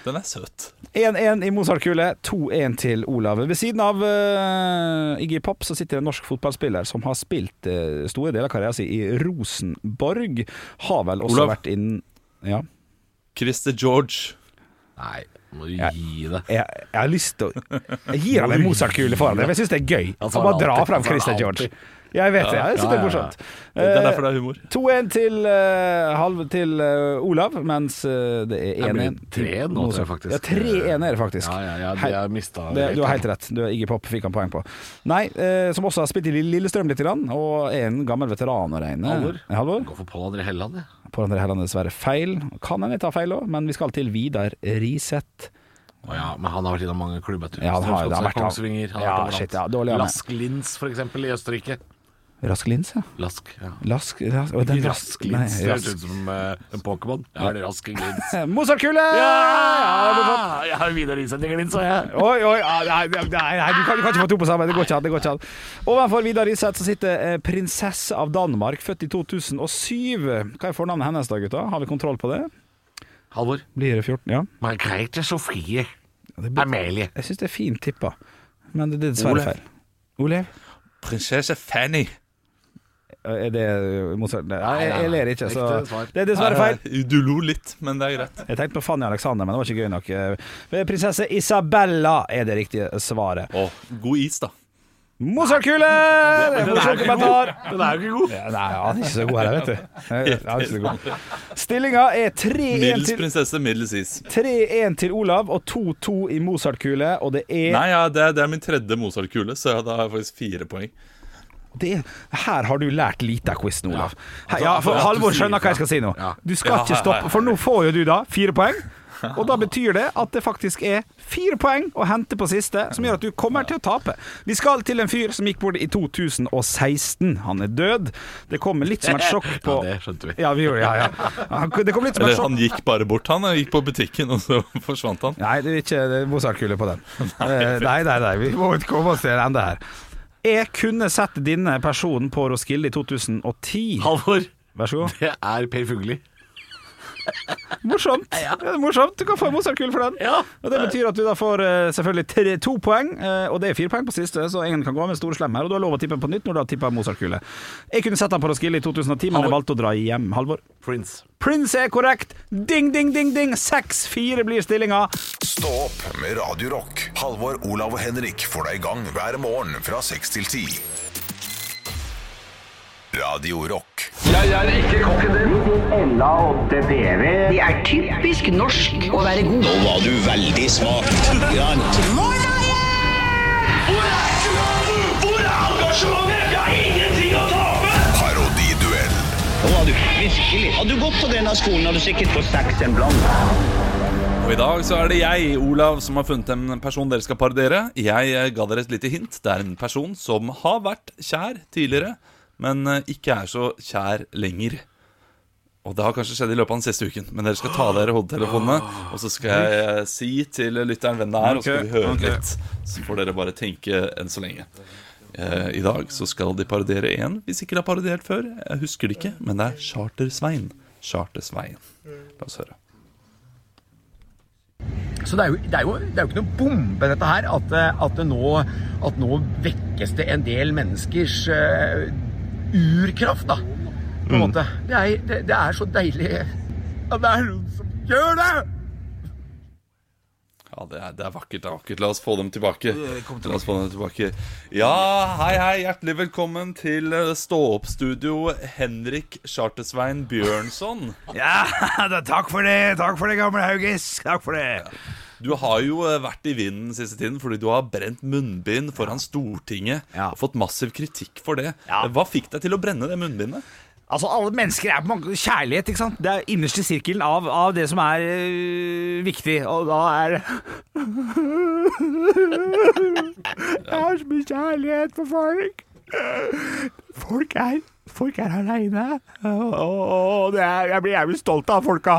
Speaker 5: Den er søt.
Speaker 3: 1-1 i Mozart-kule, 2-1 til Olav. Ved siden av eh, Iggy Pop så sitter en norsk fotballspiller som har spilt eh, store deler av karrieren sin i Rosenborg. Har vel også
Speaker 5: Olav.
Speaker 3: vært innen ja.
Speaker 5: Christer George.
Speaker 4: Nei, må du gi det.
Speaker 3: jeg, jeg har lyst til å Jeg gir ham en Mozart-kule foran det, for jeg syns det er gøy. Å
Speaker 4: Han får
Speaker 3: bare
Speaker 4: det
Speaker 3: dra
Speaker 4: alltid.
Speaker 3: fram
Speaker 4: Han får det
Speaker 3: Christer George.
Speaker 4: alltid.
Speaker 3: Jeg vet det. Jeg syns det
Speaker 4: ja,
Speaker 3: er
Speaker 4: ja.
Speaker 3: morsomt. Eh,
Speaker 5: Det er derfor det er humor.
Speaker 3: 2-1 til, eh, halv- til eh, Olav, mens eh, det er
Speaker 4: Det blir
Speaker 3: 1-1 til
Speaker 4: 3 nå, tror jeg faktisk.
Speaker 3: Ja, 3-1 er det faktisk.
Speaker 4: Ja, ja, ja,
Speaker 3: Hei.
Speaker 4: de har mista
Speaker 3: Det, du har helt rett. Du, Iggy Pop fikk han poeng på. Nei, eh, som også har spilt i Lillestrøm litt, grann, og er en gammel veteran å regne. Eh,
Speaker 4: Halvor.
Speaker 3: Halvor?
Speaker 4: Gå for Pål André Helland, jeg.
Speaker 3: På andre Helland er dessverre feil. Kan hende jeg tar feil òg, men vi skal til Vidar Riseth.
Speaker 4: Å ja, men han har vært innom mange klubber. tror jeg.
Speaker 3: Ja, han har- det har vært han.
Speaker 4: Kongsvinger. Han har
Speaker 3: Ja,
Speaker 4: vært overalt.
Speaker 3: shit, ja, dårlig av meg.
Speaker 4: Lask Linz, for eksempel, i Østerrike.
Speaker 3: Rask lins, ja.
Speaker 4: Lask. Ja.
Speaker 3: Lask, rask, og den
Speaker 4: Rask
Speaker 3: nei,
Speaker 4: Linz. Det
Speaker 3: rask.
Speaker 4: høres ut som eh, en Pokémon. Ja, eller Rask Linz.
Speaker 3: Mozartkule!
Speaker 4: Ja, Ah, jeg har Vidar Linz en Linz, og jeg.
Speaker 3: Oi, oi, ah, nei, nei, nei du, kan, du kan ikke få to på samme. Det går ikke an. det går ikke an Ovenfor Vidar Riseth så sitter eh, prinsesse av Danmark, født i 2007. Hva er fornavnet hennes da, gutta? Har vi kontroll på det?
Speaker 4: Halvor.
Speaker 3: Blir det 14? Ja.
Speaker 4: Margrethe Sofie.
Speaker 3: det blir-
Speaker 4: Amelie.
Speaker 3: Jeg syns det er fint tippa, men det er dessverre
Speaker 5: Olav.
Speaker 3: feil. Olev?
Speaker 5: Prinsesse Fanny.
Speaker 3: Eh, Er det Mozart? Nei,
Speaker 4: Nei, nei,
Speaker 3: jeg
Speaker 4: nei.
Speaker 3: ler ikke, så
Speaker 4: Riktig svar.
Speaker 3: Det er dessverre feil.
Speaker 5: Eh, Du lo litt, men det er greit.
Speaker 3: Jeg tenkte på Fanny Alexander, men det var ikke gøy nok. Eh, Prinsesse Isabella er det riktige svaret.
Speaker 5: Å, god is, da.
Speaker 3: Mozartkule!
Speaker 4: Den er
Speaker 3: Morsom
Speaker 4: jo ikke god.
Speaker 3: kommentar.
Speaker 4: Den er jo ikke god.
Speaker 3: Ja, Nei, han er ikke så god her, vet du. Han er ikke så god. Stillinga er 3-1
Speaker 5: Middels
Speaker 3: til,
Speaker 5: prinsesse, middels is.
Speaker 3: 3-1 til Olav og 2-2 i Mozart-kule, og det er,
Speaker 5: Nei, ja, det, er- det er min tredje Mozart-kule, så ja, da har jeg faktisk fire poeng.
Speaker 3: det er Her har du lært lite av quizen, Olav.
Speaker 4: Ja.
Speaker 3: Her- Ja, for
Speaker 4: Ja, du
Speaker 3: Halvor
Speaker 4: sier
Speaker 3: skjønner hva jeg
Speaker 4: fra.
Speaker 3: skal si nå.
Speaker 4: Ja.
Speaker 3: Du skal
Speaker 5: Ja,
Speaker 3: ikke stoppe, for nå får jo du da fire poeng. Og da betyr det at det faktisk er fire poeng å hente på siste, som gjør at du kommer til å tape. Vi skal til en fyr som gikk bort i 2016. Han er død. Det kommer litt som et sjokk på
Speaker 4: Ja, det skjønte vi.
Speaker 3: Ja, vi gjorde ja, ja. Han- Det kom litt som et
Speaker 5: Eller
Speaker 3: sjokk.
Speaker 5: han gikk bare bort, han. Han gikk på butikken, og så forsvant han.
Speaker 3: Nei, det er ikke det er Mozart-kule på den. Eh, nei, nei, nei, vi må ikke komme oss til en ende her. Jeg kunne sett denne personen på Roskilde i 2010.
Speaker 4: Halvor.
Speaker 3: Vær så god.
Speaker 4: Det er Per Fugelli.
Speaker 3: Morsomt. Ja, det er morsomt. Du kan få en Mozart-kule for den.
Speaker 4: Ja.
Speaker 3: Og Det betyr at du da får eh, selvfølgelig tre, to poeng, eh, og det er fire poeng på siste, så ingen kan gå av med store slem her. Og du har lov å tippe på nytt når du har tippa Mozart-kule. Jeg kunne sett han på Roskilde i 2010, men jeg
Speaker 4: Halvor.
Speaker 3: valgte å dra hjem. Halvor.
Speaker 4: Prince.
Speaker 3: Prince er korrekt. Ding, ding, ding, ding. 6-4 blir stillinga.
Speaker 1: Stå opp med Radio Rock. Halvor, Olav og Henrik får deg i gang hver morgen fra 6 til 10. Radio Rock.
Speaker 8: Det er typisk norsk å være god. Nå var du veldig smak.
Speaker 9: Hvor er engasjementet? Jeg har ingenting å tape!
Speaker 1: Parodiduell.
Speaker 8: Nå var du virkelig. Hadde du gått på denne skolen, hadde du sikkert fått seks en blant.
Speaker 5: Og i dag så er det jeg, Olav, som har funnet en person dere skal parodiere. Jeg eh, ga dere et lite hint. Det er en person som har vært kjær tidligere, men eh, ikke er så kjær lenger. Og det har kanskje skjedd i løpet av den siste uken, men dere skal ta av dere hodetelefonene, og så skal jeg eh, si til lytteren hvem det er, og så skal vi høre litt. Så får dere bare tenke enn så lenge. Eh, I dag så skal de parodiere én, hvis ikke de har parodiert før. Jeg husker det ikke, men det er Charter-Svein. Charter-Svein. La oss høre.
Speaker 10: Så det er, jo, det, er jo, det er jo ikke noe bombe dette her, at, eh, at, det nå, at nå vekkes det en del menneskers eh, urkraft, da.
Speaker 3: Mm.
Speaker 10: På en måte. Det er, det, det er så deilig at det er noen som gjør det!
Speaker 5: Ja, Ja, det er, det er vakkert. det er vakkert La oss få dem tilbake. La oss få dem tilbake Ja, hei, hei. Hjertelig velkommen til eh, stå-opp-studio Henrik Chartersvein Bjørnson.
Speaker 3: Ja, da, takk for det, takk for det, gamle Haugis. Takk for det.
Speaker 5: Du har jo eh, vært i vinden siste tiden fordi du har brent munnbind foran Stortinget
Speaker 3: Ja.
Speaker 5: og fått massiv kritikk for det.
Speaker 3: Ja.
Speaker 5: Hva fikk deg til å brenne det munnbindet?
Speaker 3: Altså, alle mennesker er på mange kjærlighet, ikke sant? Det er innerste sirkelen av, av det som er øh, viktig, og da er Jeg har så mye kjærlighet for folk. Folk er, folk er aleine, og, og det er, jeg, blir, jeg blir stolt av folka.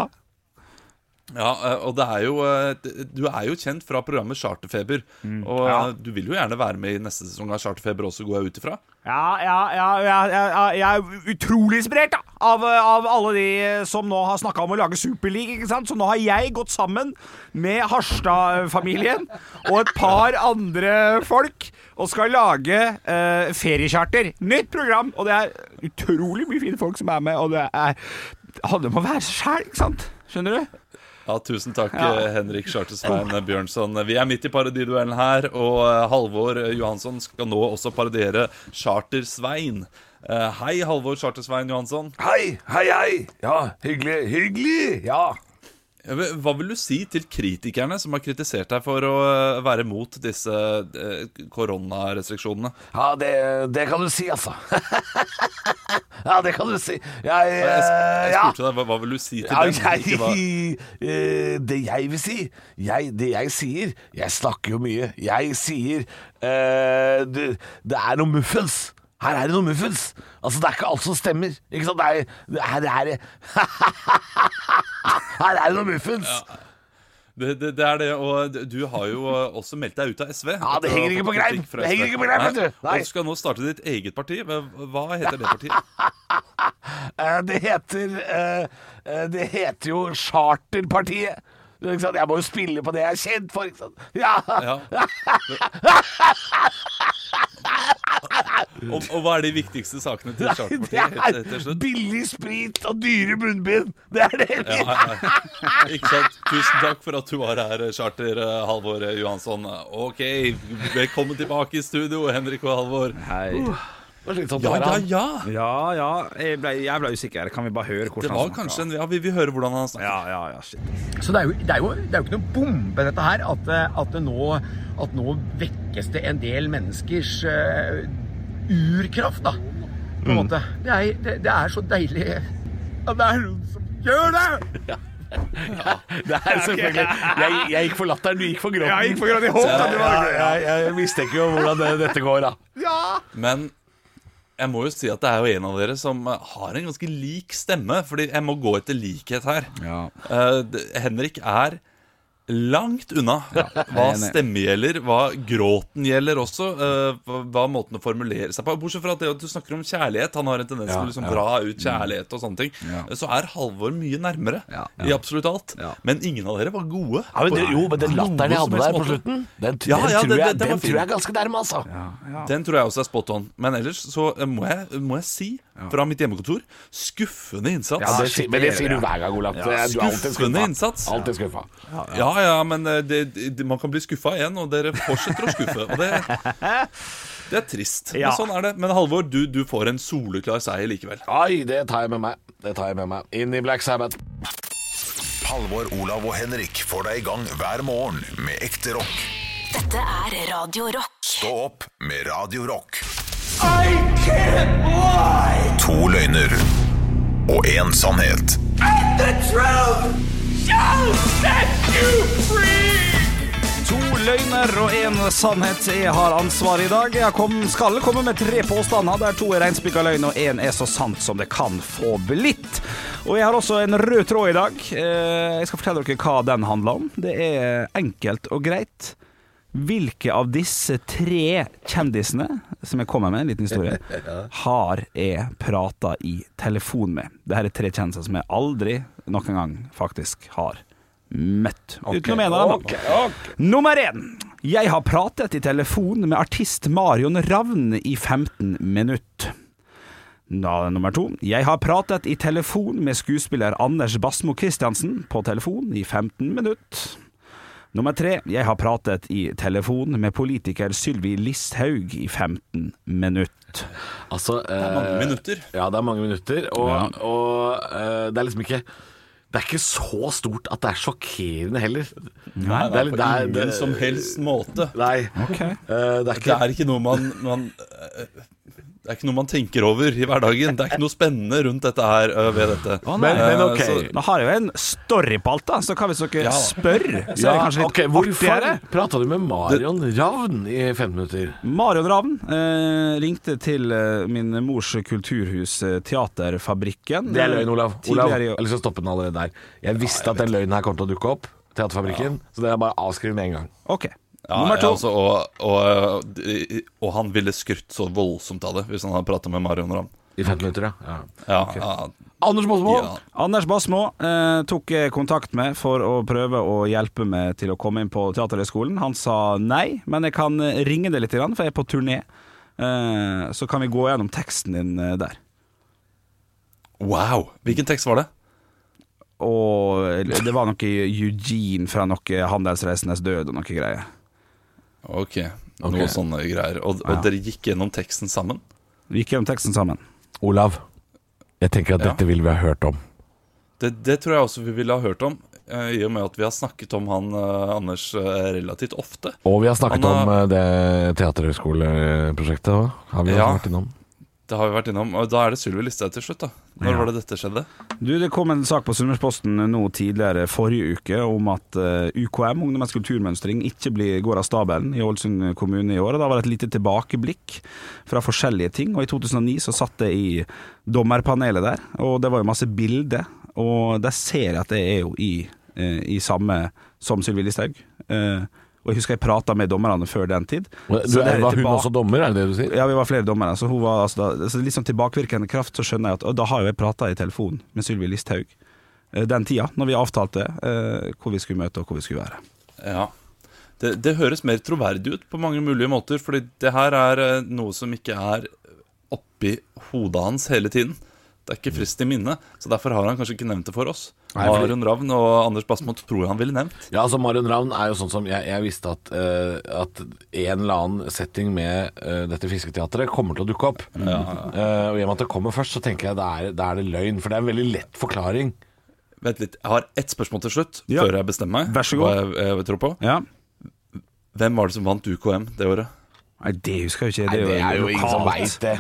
Speaker 5: Ja, eh, og det er jo eh, d- Du er jo kjent fra programmet Charterfeber.
Speaker 3: Mm.
Speaker 5: Og eh, du vil jo gjerne være med i neste sesong av Charterfeber også, går jeg ut ifra.
Speaker 3: Ja, ja, ja, ja, ja, ja jeg er utrolig inspirert da, av, av alle de eh, som nå har snakka om å lage Superliga. ikke sant? Så nå har jeg gått sammen med Harstad-familien og et par andre folk og skal lage eh, feriecharter. Nytt program! Og det er utrolig mye fine folk som er med, og det er, det handler om å være seg sjæl, ikke sant? Skjønner du?
Speaker 5: Ja, Tusen takk, eh, Henrik Chartersvein Bjørnson. Vi er midt i parodiduellen her, og eh, Halvor eh, Johansson skal nå også parodiere Charter-Svein. Eh, Hei, Halvor Charter-Svein Johansson.
Speaker 4: Hei, hei, hei! Ja, hyggelig, hyggelig! Ja.
Speaker 5: Ja, men Hva vil du si til kritikerne som har kritisert deg for å eh, være mot disse eh, koronarestriksjonene?
Speaker 4: Ja, det, det kan du si, altså. ja, det kan du si. Jeg,
Speaker 5: Jeg, jeg
Speaker 4: eh, ja.
Speaker 5: spurte deg, hva, hva vil du si til
Speaker 4: Ja,
Speaker 5: dem?
Speaker 4: jeg,
Speaker 5: Ikke hva-
Speaker 4: eh, det jeg vil si jeg, Det jeg sier Jeg snakker jo mye Jeg sier eh, det, det er noe muffens Her er det noe muffens Altså det er ikke alt som stemmer Ikke sant? Det er, det- her, er, det- her er det noe muffens
Speaker 5: Det, det, det er det, og du har jo eh, også meldt deg ut av SV.
Speaker 4: Ja, det henger ikke på greip.
Speaker 5: Kritikk fra
Speaker 4: Det
Speaker 5: SV.
Speaker 4: henger ikke på greip, vet du.
Speaker 5: Nei.
Speaker 4: Nei.
Speaker 5: Og du skal nå starte ditt eget parti. Hva hva heter det partiet?
Speaker 4: Eh, Det heter eh, eh, Det heter jo Charterpartiet Ikke sant? Jeg må jo spille på det jeg er kjent for ikke sant? Ja,
Speaker 5: Ja. Og, og hva er de viktigste sakene til
Speaker 4: Det
Speaker 5: Charterpartiet helt
Speaker 4: er
Speaker 5: til- til slutt?
Speaker 4: billig sprit og dyre munnbind. Det er det. vi-
Speaker 5: Ja, ja, ja. Ikke sant? Tusen takk for at du var her, Charter eh, Halvor eh, Johansson. Ok, velkommen tilbake i studio, Henrik og Halvor.
Speaker 4: Det var slitsomt å
Speaker 5: Ja,
Speaker 4: være
Speaker 5: ja,
Speaker 4: han.
Speaker 5: ja.
Speaker 3: Ja, ja, jeg ble, usikker. Kan vi bare høre
Speaker 5: Det
Speaker 3: hvordan
Speaker 5: var kanskje en Ja, vi, vi hører hvordan han snakker.
Speaker 3: Ja, ja, ja, shit.
Speaker 10: Så det er, jo, det, er jo, det er jo ikke noe bombe dette her, at, det- at, det nå, at nå vekkes det en del menneskers eh, urkraft, da. På
Speaker 4: Mm.
Speaker 10: en måte. Det er, det, det er så deilig at det er noen som gjør det!
Speaker 4: Det er selvfølgelig jeg, jeg gikk for latteren, du gikk for gråten.
Speaker 3: Jeg gikk for grad i håp.
Speaker 4: Ja, jeg, jeg mistenker jo hvordan det, dette går, da.
Speaker 5: Men jeg må jo si at det er jo en av dere som eh, har en ganske lik stemme, fordi jeg må gå etter likhet her.
Speaker 3: Ja.
Speaker 5: Eh, d- Henrik er langt unna hva
Speaker 3: enig.
Speaker 5: stemme gjelder, hva gråten gjelder også, eh, hva, hva måten å formulere seg på. Bortsett fra at det at du snakker om kjærlighet, han har en tendens til å liksom dra ut kjærlighet og sånne ting,
Speaker 3: Mm.
Speaker 5: Eh,
Speaker 3: Ja.
Speaker 5: så er Halvor mye nærmere
Speaker 3: Ja.
Speaker 5: i absolutt alt.
Speaker 3: Ja.
Speaker 5: Men ingen av dere var gode.
Speaker 4: Ja, men det, jo, men den
Speaker 5: Noe
Speaker 4: latteren jeg
Speaker 5: som
Speaker 4: hadde der
Speaker 5: helst
Speaker 4: på
Speaker 5: måte.
Speaker 4: slutten, den, den,
Speaker 5: Ja, ja,
Speaker 4: tror, jeg,
Speaker 5: den- den- den
Speaker 4: den
Speaker 5: var fin.
Speaker 4: tror jeg er ganske nærme, altså.
Speaker 5: Den tror jeg også er spot on. Men ellers så eh, må jeg, må jeg si, fra mitt hjemmekontor, skuffende innsats.
Speaker 4: Ja, det, sier- Ah, men det sier du hver gang, Olav. Ja, du er alltid
Speaker 5: skuffende
Speaker 4: skuffa.
Speaker 5: innsats.
Speaker 4: Alltid skuffa.
Speaker 5: Ja, ja, men eh, det, det, man kan bli skuffa igjen, og dere fortsetter å skuffe. Og det, det er trist.
Speaker 3: Ja.
Speaker 5: Men sånn er det. Men Halvor, du, du får en soleklar seier likevel.
Speaker 4: Ai, det tar jeg med meg. Det tar jeg med meg. Inn i Black Sabbath.
Speaker 1: Halvor, Olav og Henrik får deg i gang hver morgen med ekte rock.
Speaker 2: Dette er Radio Rock.
Speaker 1: Stå opp med Radio Rock.
Speaker 9: I can't lie!
Speaker 1: To løgner og én sannhet.
Speaker 9: And the truth shall set you free!
Speaker 3: To løgner og en sannhet. Jeg har ansvaret i dag. Jeg kom, skal komme med tre påstander der to er reinspikka løgn og én er så sant som det kan få blitt. Og jeg har også en rød tråd i dag. Eh, Jeg skal fortelle dere hva den handler om. Det er enkelt og greit. Hvilke av disse tre kjendisene som jeg kommer med, en liten historie, har jeg prata i telefon med? Dette er tre kjendiser som jeg aldri noen gang faktisk har møtt. Utenom en av dem. da. Nummer én. Jeg har pratet i telefon med artist Marion Ravn i 15 minutt. Da, nummer to. Jeg har pratet i telefon med skuespiller Anders Basmo Christiansen på telefon i 15 minutt. Nummer tre, jeg har pratet i telefon med politiker Sylvi Listhaug i 15 minutter.
Speaker 4: Altså, det er
Speaker 5: mange minutter.
Speaker 4: Ja, det er mange minutter. Og, og eh, det er liksom ikke Det er ikke så stort at det er sjokkerende heller. Nei, det er,
Speaker 5: På
Speaker 4: litt- det er,
Speaker 5: ingen
Speaker 4: det,
Speaker 5: som helst måte.
Speaker 4: Nei.
Speaker 3: Ok.
Speaker 4: Eh, det er
Speaker 5: Det
Speaker 4: ikke
Speaker 5: er ikke noe man, man eh, Det er ikke noe man tenker over i hverdagen. Det er ikke noe spennende rundt dette her eh, ved dette.
Speaker 4: men, men
Speaker 5: Eh,
Speaker 4: ok.
Speaker 5: så-
Speaker 3: Nå har jeg jo en storypalte, så hva hvis dere spør? Så er det
Speaker 4: Ja,
Speaker 3: kanskje litt
Speaker 4: ok, Hvorfor
Speaker 3: artigere.
Speaker 4: prata du med Marion Ravn i 15 minutter?
Speaker 3: Marion Ravn eh, ringte til eh, min mors kulturhus, eh, Teaterfabrikken.
Speaker 4: Det er løgn, Olav. Olav
Speaker 3: Tidligere i år.
Speaker 4: eller så stoppe den allerede der. Jeg visste at den løgnen her kom til å dukke opp. Teaterfabrikken. Så det er bare avskriv med en gang.
Speaker 3: Ok.
Speaker 5: Ja,
Speaker 3: Nummer to.
Speaker 5: ja, altså, og, og, eh, og han ville skrytt så voldsomt av det hvis han hadde prata med Marion Ravn.
Speaker 4: I 15 minutter, ja.
Speaker 5: Ja, ja,
Speaker 4: Anders Båsmo!
Speaker 5: ja.
Speaker 3: Anders Basmo eh, tok eh, kontakt med for å prøve å hjelpe meg til å komme inn på Teaterhøgskolen. Han sa nei, men jeg kan eh, ringe deg litt, grann, for jeg er på turné. Eh, så kan vi gå gjennom teksten din eh, der.
Speaker 5: Wow! Hvilken tekst var det?
Speaker 3: Og eller, det var noe Eugene fra noe Handelsreisendes død og noe greier.
Speaker 5: Ok, noe sånne greier. Og, og dere gikk gjennom teksten sammen?
Speaker 3: Vi gikk gjennom teksten sammen.
Speaker 4: Olav, jeg tenker at
Speaker 5: Ja.
Speaker 4: dette vil vi ha hørt om.
Speaker 5: Det, det tror jeg også vi ville ha hørt om, eh, i og med at vi har snakket om han eh, Anders eh, relativt ofte.
Speaker 4: Og vi har snakket
Speaker 5: Han
Speaker 4: om
Speaker 5: har-
Speaker 4: eh, det teaterhøgskoleprosjektet òg. Har vi jo
Speaker 5: Ja.
Speaker 4: snakket innom?
Speaker 5: Det har vi vært innom. Og da er det Sylvi Listhaug til slutt, da. Når var det dette skjedde?
Speaker 3: Du, Det kom en sak på Sunnmørsposten nå tidligere forrige uke om at eh, UKM, Ungdommens kulturmønstring, ikke blir, går av stabelen i Ålesund kommune i år. og Da var det et lite tilbakeblikk fra forskjellige ting. og I 2009 så satt jeg i dommerpanelet der, og det var jo masse bilder. Og der ser jeg at jeg er jo i, eh, i samme som Sylvi Listhaug. Eh, og jeg husker jeg prata med dommerne før den tid.
Speaker 4: Du,
Speaker 3: Så det er
Speaker 4: er, var hun
Speaker 3: tilbake-
Speaker 4: også dommer, er det det du sier?
Speaker 3: ja, vi var flere dommere. Så hun var altså da, så litt sånn tilbakevirkende kraft, så skjønner jeg at Og da har jo jeg prata i telefon med Sylvi Listhaug eh, den tida, når vi avtalte eh, hvor vi skulle møte og hvor vi skulle være.
Speaker 5: Ja. Det, det høres mer troverdig ut på mange mulige måter, fordi det her er eh, noe som ikke er oppi hodet hans hele tiden. Det er
Speaker 3: Mm.
Speaker 5: ikke frist i minnet, så derfor har han kanskje ikke nevnt det for oss.
Speaker 4: fordi-
Speaker 5: Marion Ravn og Anders Basmo tror jeg han ville nevnt.
Speaker 4: Ja, altså Marion Ravn er jo sånn som Jeg, jeg visste at, eh, at en eller annen setting med eh, dette fisketeatret kommer til å dukke opp. Eh, og i og med at det kommer først, så tenker jeg da er, da er det løgn. For det er en veldig lett forklaring.
Speaker 5: Vent litt, Jeg har ett spørsmål til slutt,
Speaker 3: Ja.
Speaker 5: før jeg bestemmer meg.
Speaker 3: Vær så god.
Speaker 5: Hva jeg, jeg tror på.
Speaker 3: Ja.
Speaker 5: Hvem var det som vant UKM det året?
Speaker 3: Nei, det husker jeg jo ikke.
Speaker 4: Nei,
Speaker 3: Det er jo,
Speaker 4: det er jo ingen som
Speaker 3: lokalt.
Speaker 4: veit det.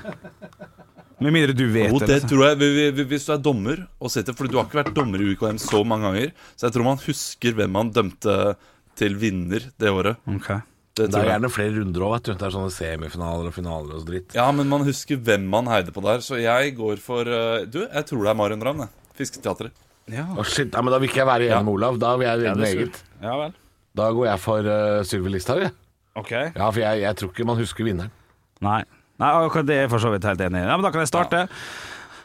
Speaker 3: Med mindre du vet
Speaker 5: Jo,
Speaker 3: det.
Speaker 5: det
Speaker 3: liksom.
Speaker 5: tror jeg vi- vi- Hvis du er dommer og sitter Fordi du har ikke vært dommer i UKM så mange ganger, så jeg tror man husker hvem han dømte til vinner det året.
Speaker 3: Ok.
Speaker 5: Det
Speaker 4: Det
Speaker 5: tror
Speaker 4: er
Speaker 5: jeg.
Speaker 4: gjerne flere runder òg, vet du. Det er sånne semifinaler og finaler og så dritt.
Speaker 5: Ja, men man husker hvem man heide på der, så jeg går for eh, Du, jeg tror det er Marion Ravn, jeg. Fisketeatret.
Speaker 4: Å shit, ja, men Da vil ikke jeg være enig
Speaker 5: Ja.
Speaker 4: med Olav. Da vil jeg
Speaker 3: det
Speaker 4: redde min
Speaker 3: skulle-
Speaker 4: eget.
Speaker 3: Ja vel.
Speaker 4: Da går jeg for uh, Sylvi Listhaug. jeg.
Speaker 3: Ok.
Speaker 4: Ja, for jeg, jeg tror ikke man husker vinneren.
Speaker 3: Nei. Nei, akkurat det er jeg for så vidt helt enig i. Ja, men da kan jeg starte.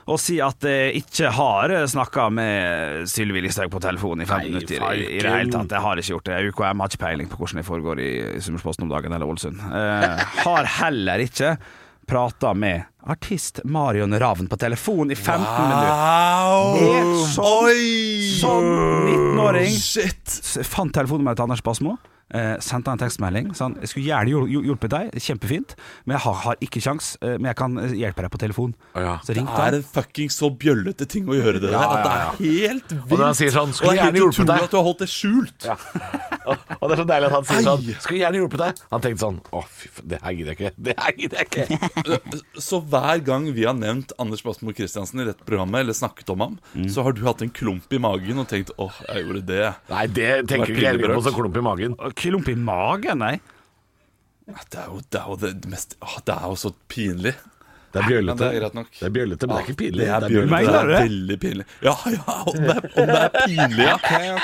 Speaker 3: Og si at jeg ikke har snakka med Sylvi Listhaug på telefon i fem
Speaker 4: Nei,
Speaker 3: minutter. I, I det hele tatt, Jeg har ikke gjort det. UKM har ikke peiling på hvordan det foregår i Summersposten om dagen, eller Ålesund. Eh, har heller ikke prata med artist Marion Ravn på telefon i 15 minutter.
Speaker 5: Au!
Speaker 3: Helt sånn, Som
Speaker 4: sånn
Speaker 3: 19-åring s- fant telefonnummeret til Anders Basmo. Eh, sendte han en tekstmelding. Sa han jeg skulle gjerne hjul- hjul- hjulpet deg, kjempefint, men jeg har, har ikke kjangs. eh, Men jeg kan eh, hjelpe deg på telefon.
Speaker 4: Å ja.
Speaker 3: Så
Speaker 5: Det
Speaker 3: ringte
Speaker 5: er
Speaker 3: han.
Speaker 5: en fucking så bjøllete ting å gjøre det der.
Speaker 4: Ja,
Speaker 5: At det
Speaker 4: ja,
Speaker 5: er helt vilt.
Speaker 4: når han sier sånn,
Speaker 5: og
Speaker 4: «Skulle
Speaker 5: det er
Speaker 4: gjerne hjulpet
Speaker 5: helt utrolig
Speaker 4: deg».
Speaker 5: at du har holdt det skjult.
Speaker 4: Og det er så deilig at han sier sånn
Speaker 5: Ei.
Speaker 4: Skulle gjerne hjulpet deg. Han tenkte sånn Å, fy faen, det her gidder jeg ikke. Det her gidder jeg ikke.
Speaker 5: Så hver gang vi har nevnt Anders Basmo Christiansen i dette programmet, eller snakket om ham,
Speaker 4: Mm.
Speaker 5: så har du hatt en klump i magen og tenkt åh, jeg gjorde det.
Speaker 4: Nei, det tenker
Speaker 5: Det var
Speaker 4: ikke jeg
Speaker 5: pinlig
Speaker 4: på
Speaker 5: berørt.
Speaker 4: som klump i magen.
Speaker 3: Klump i magen, nei.
Speaker 5: Det er jo det, er jo det mest åh, Det er jo så pinlig.
Speaker 4: Det er bjøllete.
Speaker 5: Men det er greit nok.
Speaker 4: Det er bjøllete, men det er ikke pinlig.
Speaker 5: Det er,
Speaker 4: bjøllete.
Speaker 5: bjørn, det
Speaker 3: Mener
Speaker 5: er
Speaker 3: du det?
Speaker 5: veldig pinlig. Ja, ja, om det er, om det er pinlig, ja.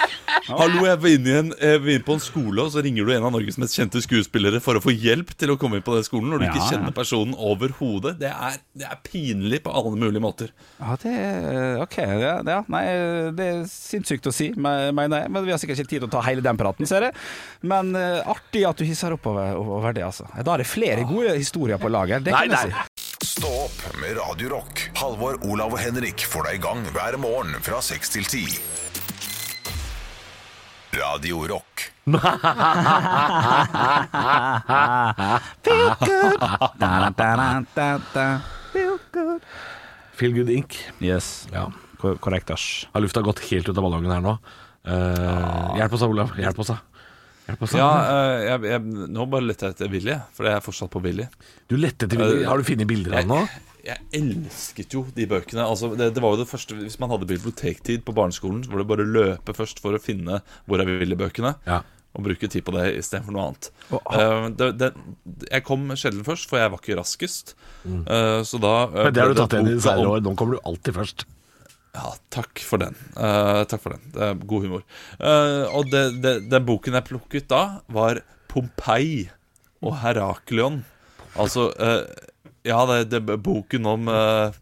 Speaker 5: Hallo, jeg var inne, i en, jeg var inne på en skole, og så ringer du en av Norges mest kjente skuespillere for å få hjelp til å komme inn på den skolen når du
Speaker 3: Ja,
Speaker 5: ikke
Speaker 3: ja.
Speaker 5: kjenner personen overhodet. Det, er- det er pinlig på alle mulige måter.
Speaker 3: Ja, det er- OK. Ja, ja, nei, det er sinnssykt å si, me- mener jeg. Men vi har sikkert ikke tid til å ta hele den praten, ser jeg. Men eh, artig at du hisser opp over, over det, altså. Da er det flere gode historier på lager. Det
Speaker 4: Nei,
Speaker 3: kan jeg
Speaker 4: nei.
Speaker 3: si.
Speaker 1: Stå opp med Radio Rock. Halvor, Olav og Henrik får deg i gang hver morgen fra 6 til 10. Radio Rock.
Speaker 3: Feel good. Da, da, da, da, da. Feel good.
Speaker 4: Feel good ink.
Speaker 3: Yes.
Speaker 4: Ja.
Speaker 3: Ko- Korrekt, asj.
Speaker 4: Har lufta gått helt ut av ballongen her nå? Eh, hjelp oss da, Olav. Hjelp oss da. Hjelp oss da.
Speaker 5: Ja, eh, jeg, jeg, nå bare lette jeg etter Willy, for jeg er fortsatt på Willy.
Speaker 4: Du lette til bilder. Har du funnet bilder av den nå?
Speaker 5: Eh, Jeg elsket jo de bøkene. Altså, det, det var jo det første Hvis man hadde bibliotektid på barneskolen, så var det bare å løpe først for å finne hvor er Willy-bøkene,
Speaker 4: Ja.
Speaker 5: og bruke tid på det istedenfor noe annet. Eh, det, det, jeg kom sjelden først, for jeg var ikke raskest. Eh, så da eh,
Speaker 4: Mm. Men det har
Speaker 5: ble
Speaker 4: du tatt igjen i de
Speaker 5: boka om-
Speaker 4: senere år. Nå kommer du alltid først.
Speaker 5: Ja, takk for den. Eh, takk for den. Det er god humor. Eh, og det, det, den boken jeg plukket da, var Pompeii og Heraklion. Altså eh, Ja, det, det er boken om eh,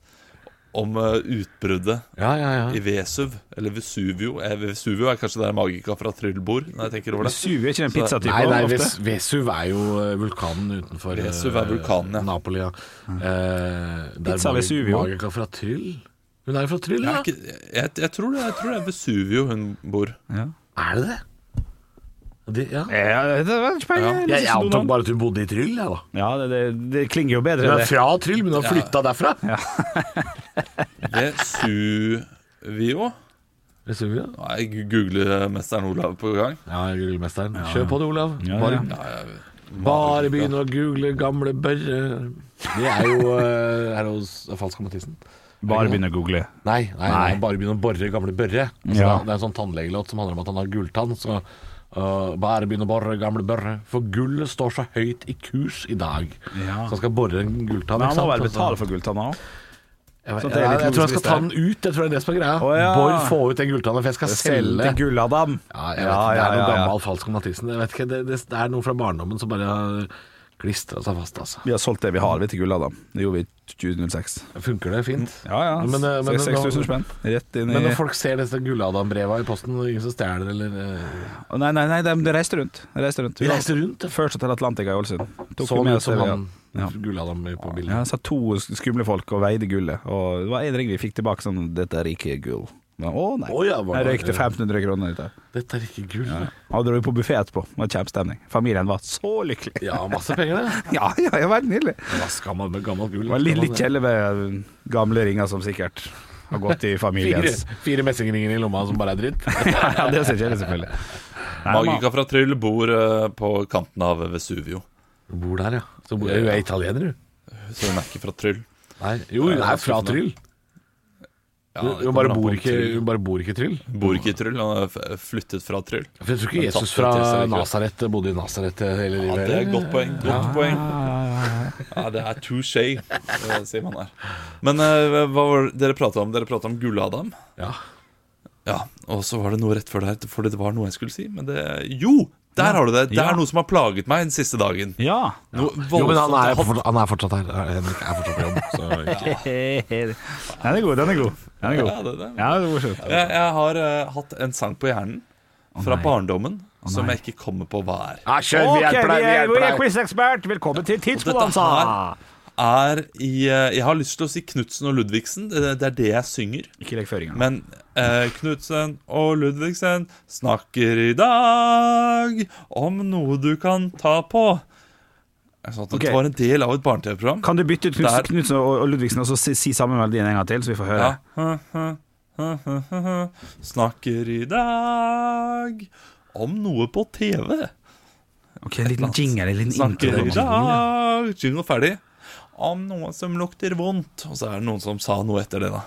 Speaker 5: om eh, utbruddet
Speaker 4: Ja, ja,
Speaker 5: i Vesuv, eller Vesuvio. Eh, Vesuvio er kanskje der magika fra Tryllbord, når jeg tenker over det.
Speaker 3: Suger ikke den
Speaker 5: Så-
Speaker 3: pizzatypen
Speaker 4: Nei, nei
Speaker 3: ofte?
Speaker 4: Ves Vesuv er jo eh, vulkanen utenfor eh,
Speaker 5: Vesuv er vulkanen, ja.
Speaker 4: Napoli, ja. Eh, der
Speaker 3: Pizza
Speaker 4: Mag-
Speaker 3: Vesuvio.
Speaker 4: Magica fra Tryll. Hun er jo fra Tryll,
Speaker 5: Jeg,
Speaker 4: ja.
Speaker 5: er ikke- jeg, jeg, tror det, jeg tror det er Vesuvio hun bor.
Speaker 4: Er det det? det ja. Jeg,
Speaker 3: Ja, det var ikke peiling.
Speaker 5: Ja.
Speaker 3: Jeg
Speaker 4: jeg
Speaker 3: synes du
Speaker 4: antok
Speaker 3: noen-
Speaker 4: bare at hun bodde i Tryll, jeg, da.
Speaker 3: Ja, det, det, det klinger jo bedre.
Speaker 4: Hun er
Speaker 3: det.
Speaker 4: fra Tryll, men hun har flytta derfra.
Speaker 5: Vesuvio?
Speaker 4: Vesuvio?
Speaker 5: Nå er jeg googlemesteren Olav på gang.
Speaker 4: Ja, gullmesteren. Kjør på det, Olav.
Speaker 3: Ja,
Speaker 4: bare,
Speaker 3: ja.
Speaker 4: bare begynn å google gamle børre. Det er jo eh, her hos Falsk og Mathisen.
Speaker 3: Bare begynn å google.
Speaker 4: Nei, nei,
Speaker 3: Nei.
Speaker 4: nei, bare begynne å borre gamle børre. Altså,
Speaker 3: Ja.
Speaker 4: Det er en sånn tannlegelåt som handler om at han har gulltann. Så øh, bare begynne å borre gamle børre. For gullet står så høyt i kurs i dag.
Speaker 3: Ja.
Speaker 4: Så han skal borre en gulltann.
Speaker 3: Men han må vel
Speaker 4: ikke sant? Altså,
Speaker 3: betale for gulltanna òg?
Speaker 4: Jeg,
Speaker 3: sånn at
Speaker 4: jeg,
Speaker 3: det er litt
Speaker 4: jeg tror han
Speaker 3: logisk
Speaker 4: skal ta den ut. Jeg tror det er det som er greia.
Speaker 3: Å, ja.
Speaker 4: Borr, få ut den gulltannen, for jeg skal selge.
Speaker 3: Selge gulladam.
Speaker 4: Ja, jeg vet, ikke, det er noe gammel falsk om Mathisen. Jeg vet ikke, det, det, det er noe fra barndommen som bare har klistra seg fast, altså.
Speaker 3: Vi har solgt det vi har, vi til gulladam. Det gjorde vi i 2006.
Speaker 4: Funker det fint?
Speaker 3: Ja ja.
Speaker 4: Men, eh, men
Speaker 3: 6000
Speaker 4: nå-
Speaker 3: spenn. Rett inn i
Speaker 4: Men når folk ser disse Gulladam-breva i posten, og ingen som stjeler eller eh,
Speaker 3: Å, Nei, nei, nei, de, de reiste rundt. De reiste rundt.
Speaker 4: De reiste rundt, ja.
Speaker 3: Først til Atlantica i Ålesund. Tok
Speaker 4: Sånn
Speaker 3: med
Speaker 4: ut
Speaker 3: oss
Speaker 4: som
Speaker 3: det vi
Speaker 4: han
Speaker 3: hadde.
Speaker 4: Gulladam på
Speaker 3: Ja,
Speaker 4: bildet.
Speaker 3: det satt to skumle folk og veide gullet. Og det var en ring vi fikk tilbake sånn 'Dette er ikke gull'. Men, Å nei.
Speaker 4: Å, ja, var
Speaker 3: jeg
Speaker 4: det-
Speaker 3: røykte 1500 kroner ut av det.
Speaker 4: Dette er ikke gull. Ja.
Speaker 3: Ja, dro vi på buffé etterpå. Det var kjempestemning. Familien var så lykkelig.
Speaker 4: masse penger, det.
Speaker 3: Ja, ja, det var helt nydelig.
Speaker 4: Hva skal man med gammelt gull?
Speaker 3: Det var litt, litt kjedelig med gamle ringer som sikkert har gått i
Speaker 4: Fire,
Speaker 3: familiens
Speaker 4: fire messingringer i lomma som bare er dritt.
Speaker 3: Ja, det ser kjedelig selvfølgelig. Nei,
Speaker 5: Magika fra Tryll bor eh, på kanten av Vesuvio.
Speaker 4: Du bor der, ja. Så bor, du er italiener, du.
Speaker 5: Så hun er ikke fra Tryll.
Speaker 4: Nei, jo, hun er fra Tryll.
Speaker 5: Ja,
Speaker 4: Hun
Speaker 5: det
Speaker 4: hun bare
Speaker 5: kommer an på
Speaker 4: bor
Speaker 5: om
Speaker 4: ikke,
Speaker 5: Tryll-
Speaker 4: hun bare bor ikke i Tryll.
Speaker 5: Bor ikke i Tryll, han er f- flyttet fra Tryll.
Speaker 4: For jeg tror ikke
Speaker 5: Men
Speaker 4: Jesus
Speaker 5: tatt
Speaker 4: fra
Speaker 5: det til seg likevel.
Speaker 4: Nasaret eh, bodde i Nasaret hele
Speaker 5: Ja,
Speaker 4: livet.
Speaker 5: det er et
Speaker 4: eller?
Speaker 5: godt poeng. Godt poeng. Ja, det er touché, eh, sier man her. Men eh, hva var det dere prata om? Dere prata om Gull-Adam.
Speaker 4: Ja.
Speaker 5: Ja, og så var det noe rett før det her, fordi det var noe jeg skulle si, men det Jo! Der har du det! Det
Speaker 3: Ja.
Speaker 5: er noe som har plaget meg den siste dagen.
Speaker 3: Ja.
Speaker 5: Noe
Speaker 4: Jo, men han er,
Speaker 5: voldsomt.
Speaker 4: for- han er fortsatt her. Henrik er fortsatt på jobb. Så ikke.
Speaker 3: Den er god, den er god. Den er god.
Speaker 5: Ja, det- det-
Speaker 3: Ja, det var morsomt.
Speaker 5: Jeg, jeg har eh, hatt en sang på hjernen fra barndommen som jeg ikke kommer på hva er.
Speaker 4: Ja, kjør, vi hjelper deg! Vi hjelper deg.
Speaker 3: quizekspert. Velkommen til
Speaker 5: Tidsbonanza. Er i eh, Jeg har lyst til å si Knutsen og Ludvigsen. Det, det er det jeg synger.
Speaker 3: Ikke legg føringer.
Speaker 5: Men eh, Knutsen og Ludvigsen snakker i dag om noe du kan ta på. Jeg sa at
Speaker 3: Ok.
Speaker 5: Det var en del av et barne-TV-program.
Speaker 3: Kan du bytte ut Knutsen,
Speaker 5: Der.
Speaker 3: Knutsen og og Ludvigsen og så si, si samme melodien en gang til, så vi får høre?
Speaker 5: Ja. Hm, Snakker i dag om noe på TV.
Speaker 3: Ok, En liten jingle, en liten
Speaker 5: Snakker i
Speaker 3: intro.
Speaker 5: dag Jingle ferdig. Om noe som lukter vondt. Og så er det noen som sa noe etter det, da.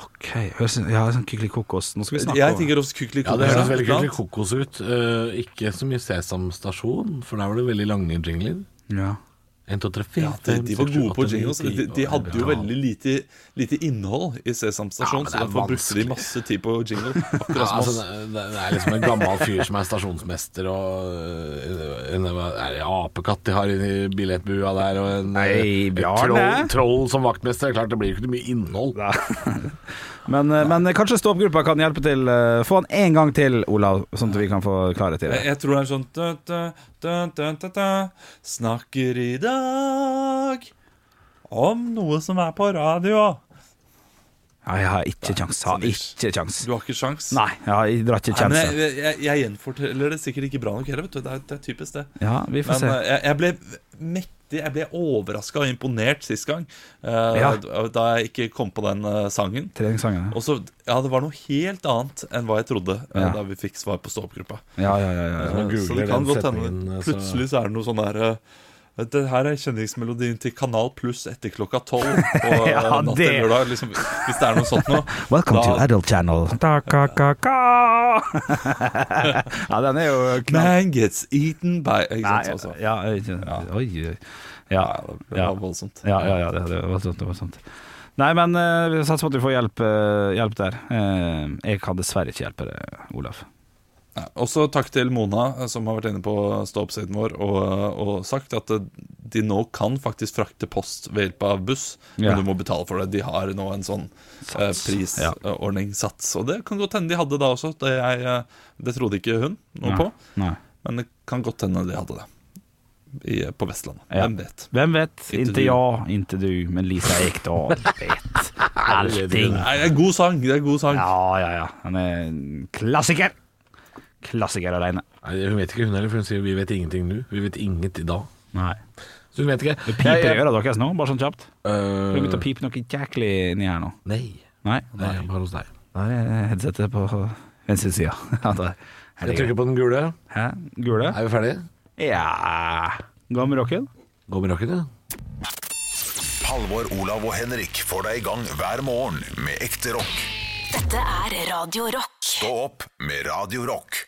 Speaker 3: Ok, høres ja, sånn Kykeli kokos. Nå skal vi snakke
Speaker 5: Jeg
Speaker 3: om
Speaker 5: tenker også Kykeli
Speaker 4: Ja, det høres veldig
Speaker 5: ikke
Speaker 4: kult
Speaker 5: sant?
Speaker 4: kokos ut. Eh, ikke så mye Sesam stasjon, for der var det veldig lange jingler.
Speaker 3: ja.
Speaker 4: 1, 2, 3, 4,
Speaker 5: Ja, de, de var gode på jingles. De, de hadde jo veldig lite, lite innhold i Sesam
Speaker 4: Ja,
Speaker 5: Stasjon,
Speaker 4: men det
Speaker 5: så
Speaker 4: er
Speaker 5: derfor brukte de
Speaker 4: vanskelig.
Speaker 5: masse tid på jingle.
Speaker 4: ja,
Speaker 5: Akkurat som
Speaker 4: altså,
Speaker 5: oss.
Speaker 4: det, det er liksom en gammel fyr som er stasjonsmester, og eh, en, hva er det apekatt de har inni billettbua der, og en eh,
Speaker 3: Nei, Bjarne.
Speaker 4: troll, troll som vaktmester. Klart det blir jo ikke mye innhold.
Speaker 3: Men, eh, men eh, kanskje stå-opp-gruppa kan hjelpe til. eh, Få han en gang til, Olav, sånn at vi kan få klarhet i det.
Speaker 5: Jeg, jeg tror det er sånn da, da, da, da, da, da. Snakker i dag om noe som er på radio.
Speaker 3: Ja, Nei, Jeg har ikke kjangs. Har ikke kjangs.
Speaker 5: Du har ikke sjans
Speaker 3: Nei, jeg har- jeg drar ikke
Speaker 5: Nei, men
Speaker 3: kjangs.
Speaker 5: jeg, jeg, jeg, jeg gjenforteller det sikkert ikke bra nok heller, vet du. Det er, det er typisk det.
Speaker 3: Ja, vi får
Speaker 5: Men
Speaker 3: se.
Speaker 5: eh, jeg, jeg ble mektig, jeg ble overraska og imponert sist gang, eh,
Speaker 3: Ja.
Speaker 5: da da jeg ikke kom på den eh, sangen.
Speaker 3: Treningssangen. ja.
Speaker 5: Og så, ja, det var noe helt annet enn hva jeg trodde eh,
Speaker 3: Ja.
Speaker 5: da vi fikk svar på stå-opp-gruppa.
Speaker 3: Ja, ja, ja, ja.
Speaker 5: Eh,
Speaker 4: googler
Speaker 5: Så det kan
Speaker 4: den
Speaker 5: godt hende
Speaker 3: altså.
Speaker 4: setningen, altså. så-
Speaker 5: plutselig så er det noe sånn der eh, det her er kjenningsmelodien til Kanal Pluss etter klokka tolv på eh,
Speaker 3: Ja,
Speaker 5: natt
Speaker 3: det-
Speaker 5: til lørdag. Liksom, hvis det er noe sånt noe.
Speaker 3: Welcome to
Speaker 5: da-
Speaker 3: Adult Channel. Da, ka, ka, ka. ja, den er jo knall...
Speaker 5: Man gets eaten by Ikke
Speaker 3: Nei,
Speaker 5: sant, altså.
Speaker 3: ja, ikke, oi, oi. Ja,
Speaker 5: Det
Speaker 3: ja.
Speaker 5: var voldsomt.
Speaker 3: Ja, ja, ja det, det var sant, det var sant. Nei, men eh, vi satser på at vi får hjelp, eh, hjelp der. Eh, jeg kan dessverre ikke hjelpe deg, Olav.
Speaker 5: Ja, Også takk til Mona, eh, som har vært inne på stå-opp-siden vår og, og sagt at eh, de nå kan faktisk frakte post ved hjelp av buss,
Speaker 3: Ja.
Speaker 5: men du må betale for det. De har nå en sånn eh,
Speaker 3: ja.
Speaker 5: prisordning, sats. Og det kan godt hende de hadde da også. Det, jeg, eh, det trodde ikke hun noe på,
Speaker 3: Nei.
Speaker 5: men det kan godt hende de hadde det I, eh, på Vestlandet.
Speaker 3: Ja.
Speaker 5: Hvem vet?
Speaker 3: Hvem vet?
Speaker 5: Inte
Speaker 3: Inte
Speaker 5: du.
Speaker 3: jeg, inte du, men Lisa Ekdahl vet allting.
Speaker 5: Nei, det er god sang! Det er god sang.
Speaker 3: Ja, ja, ja. Han er en klassiker. Klassiker alene.
Speaker 4: Nei, Hun vet ikke hun heller, for hun sier 'vi vet ingenting nå'. Vi vet inget i dag.
Speaker 3: Nei.
Speaker 4: Så hun vet ikke.
Speaker 3: Det piper i øra deres nå, bare sånn kjapt.
Speaker 4: Øh,
Speaker 3: Det begynte å pipe noe jæklig inni her nå.
Speaker 4: nei.
Speaker 3: Nei.
Speaker 4: Nei, bare hos deg.
Speaker 3: Da er headsetet på venstre sida.
Speaker 4: Jeg trykker på den gule.
Speaker 3: Hæ? Gule?
Speaker 4: Er vi ferdige?
Speaker 3: Ja Gamrocken?
Speaker 4: Gå med rakken, ja.
Speaker 1: Halvor, Olav og Henrik får deg i gang hver morgen med ekte rock.
Speaker 2: Dette er Radio Rock.
Speaker 1: Stå opp med Radio Rock.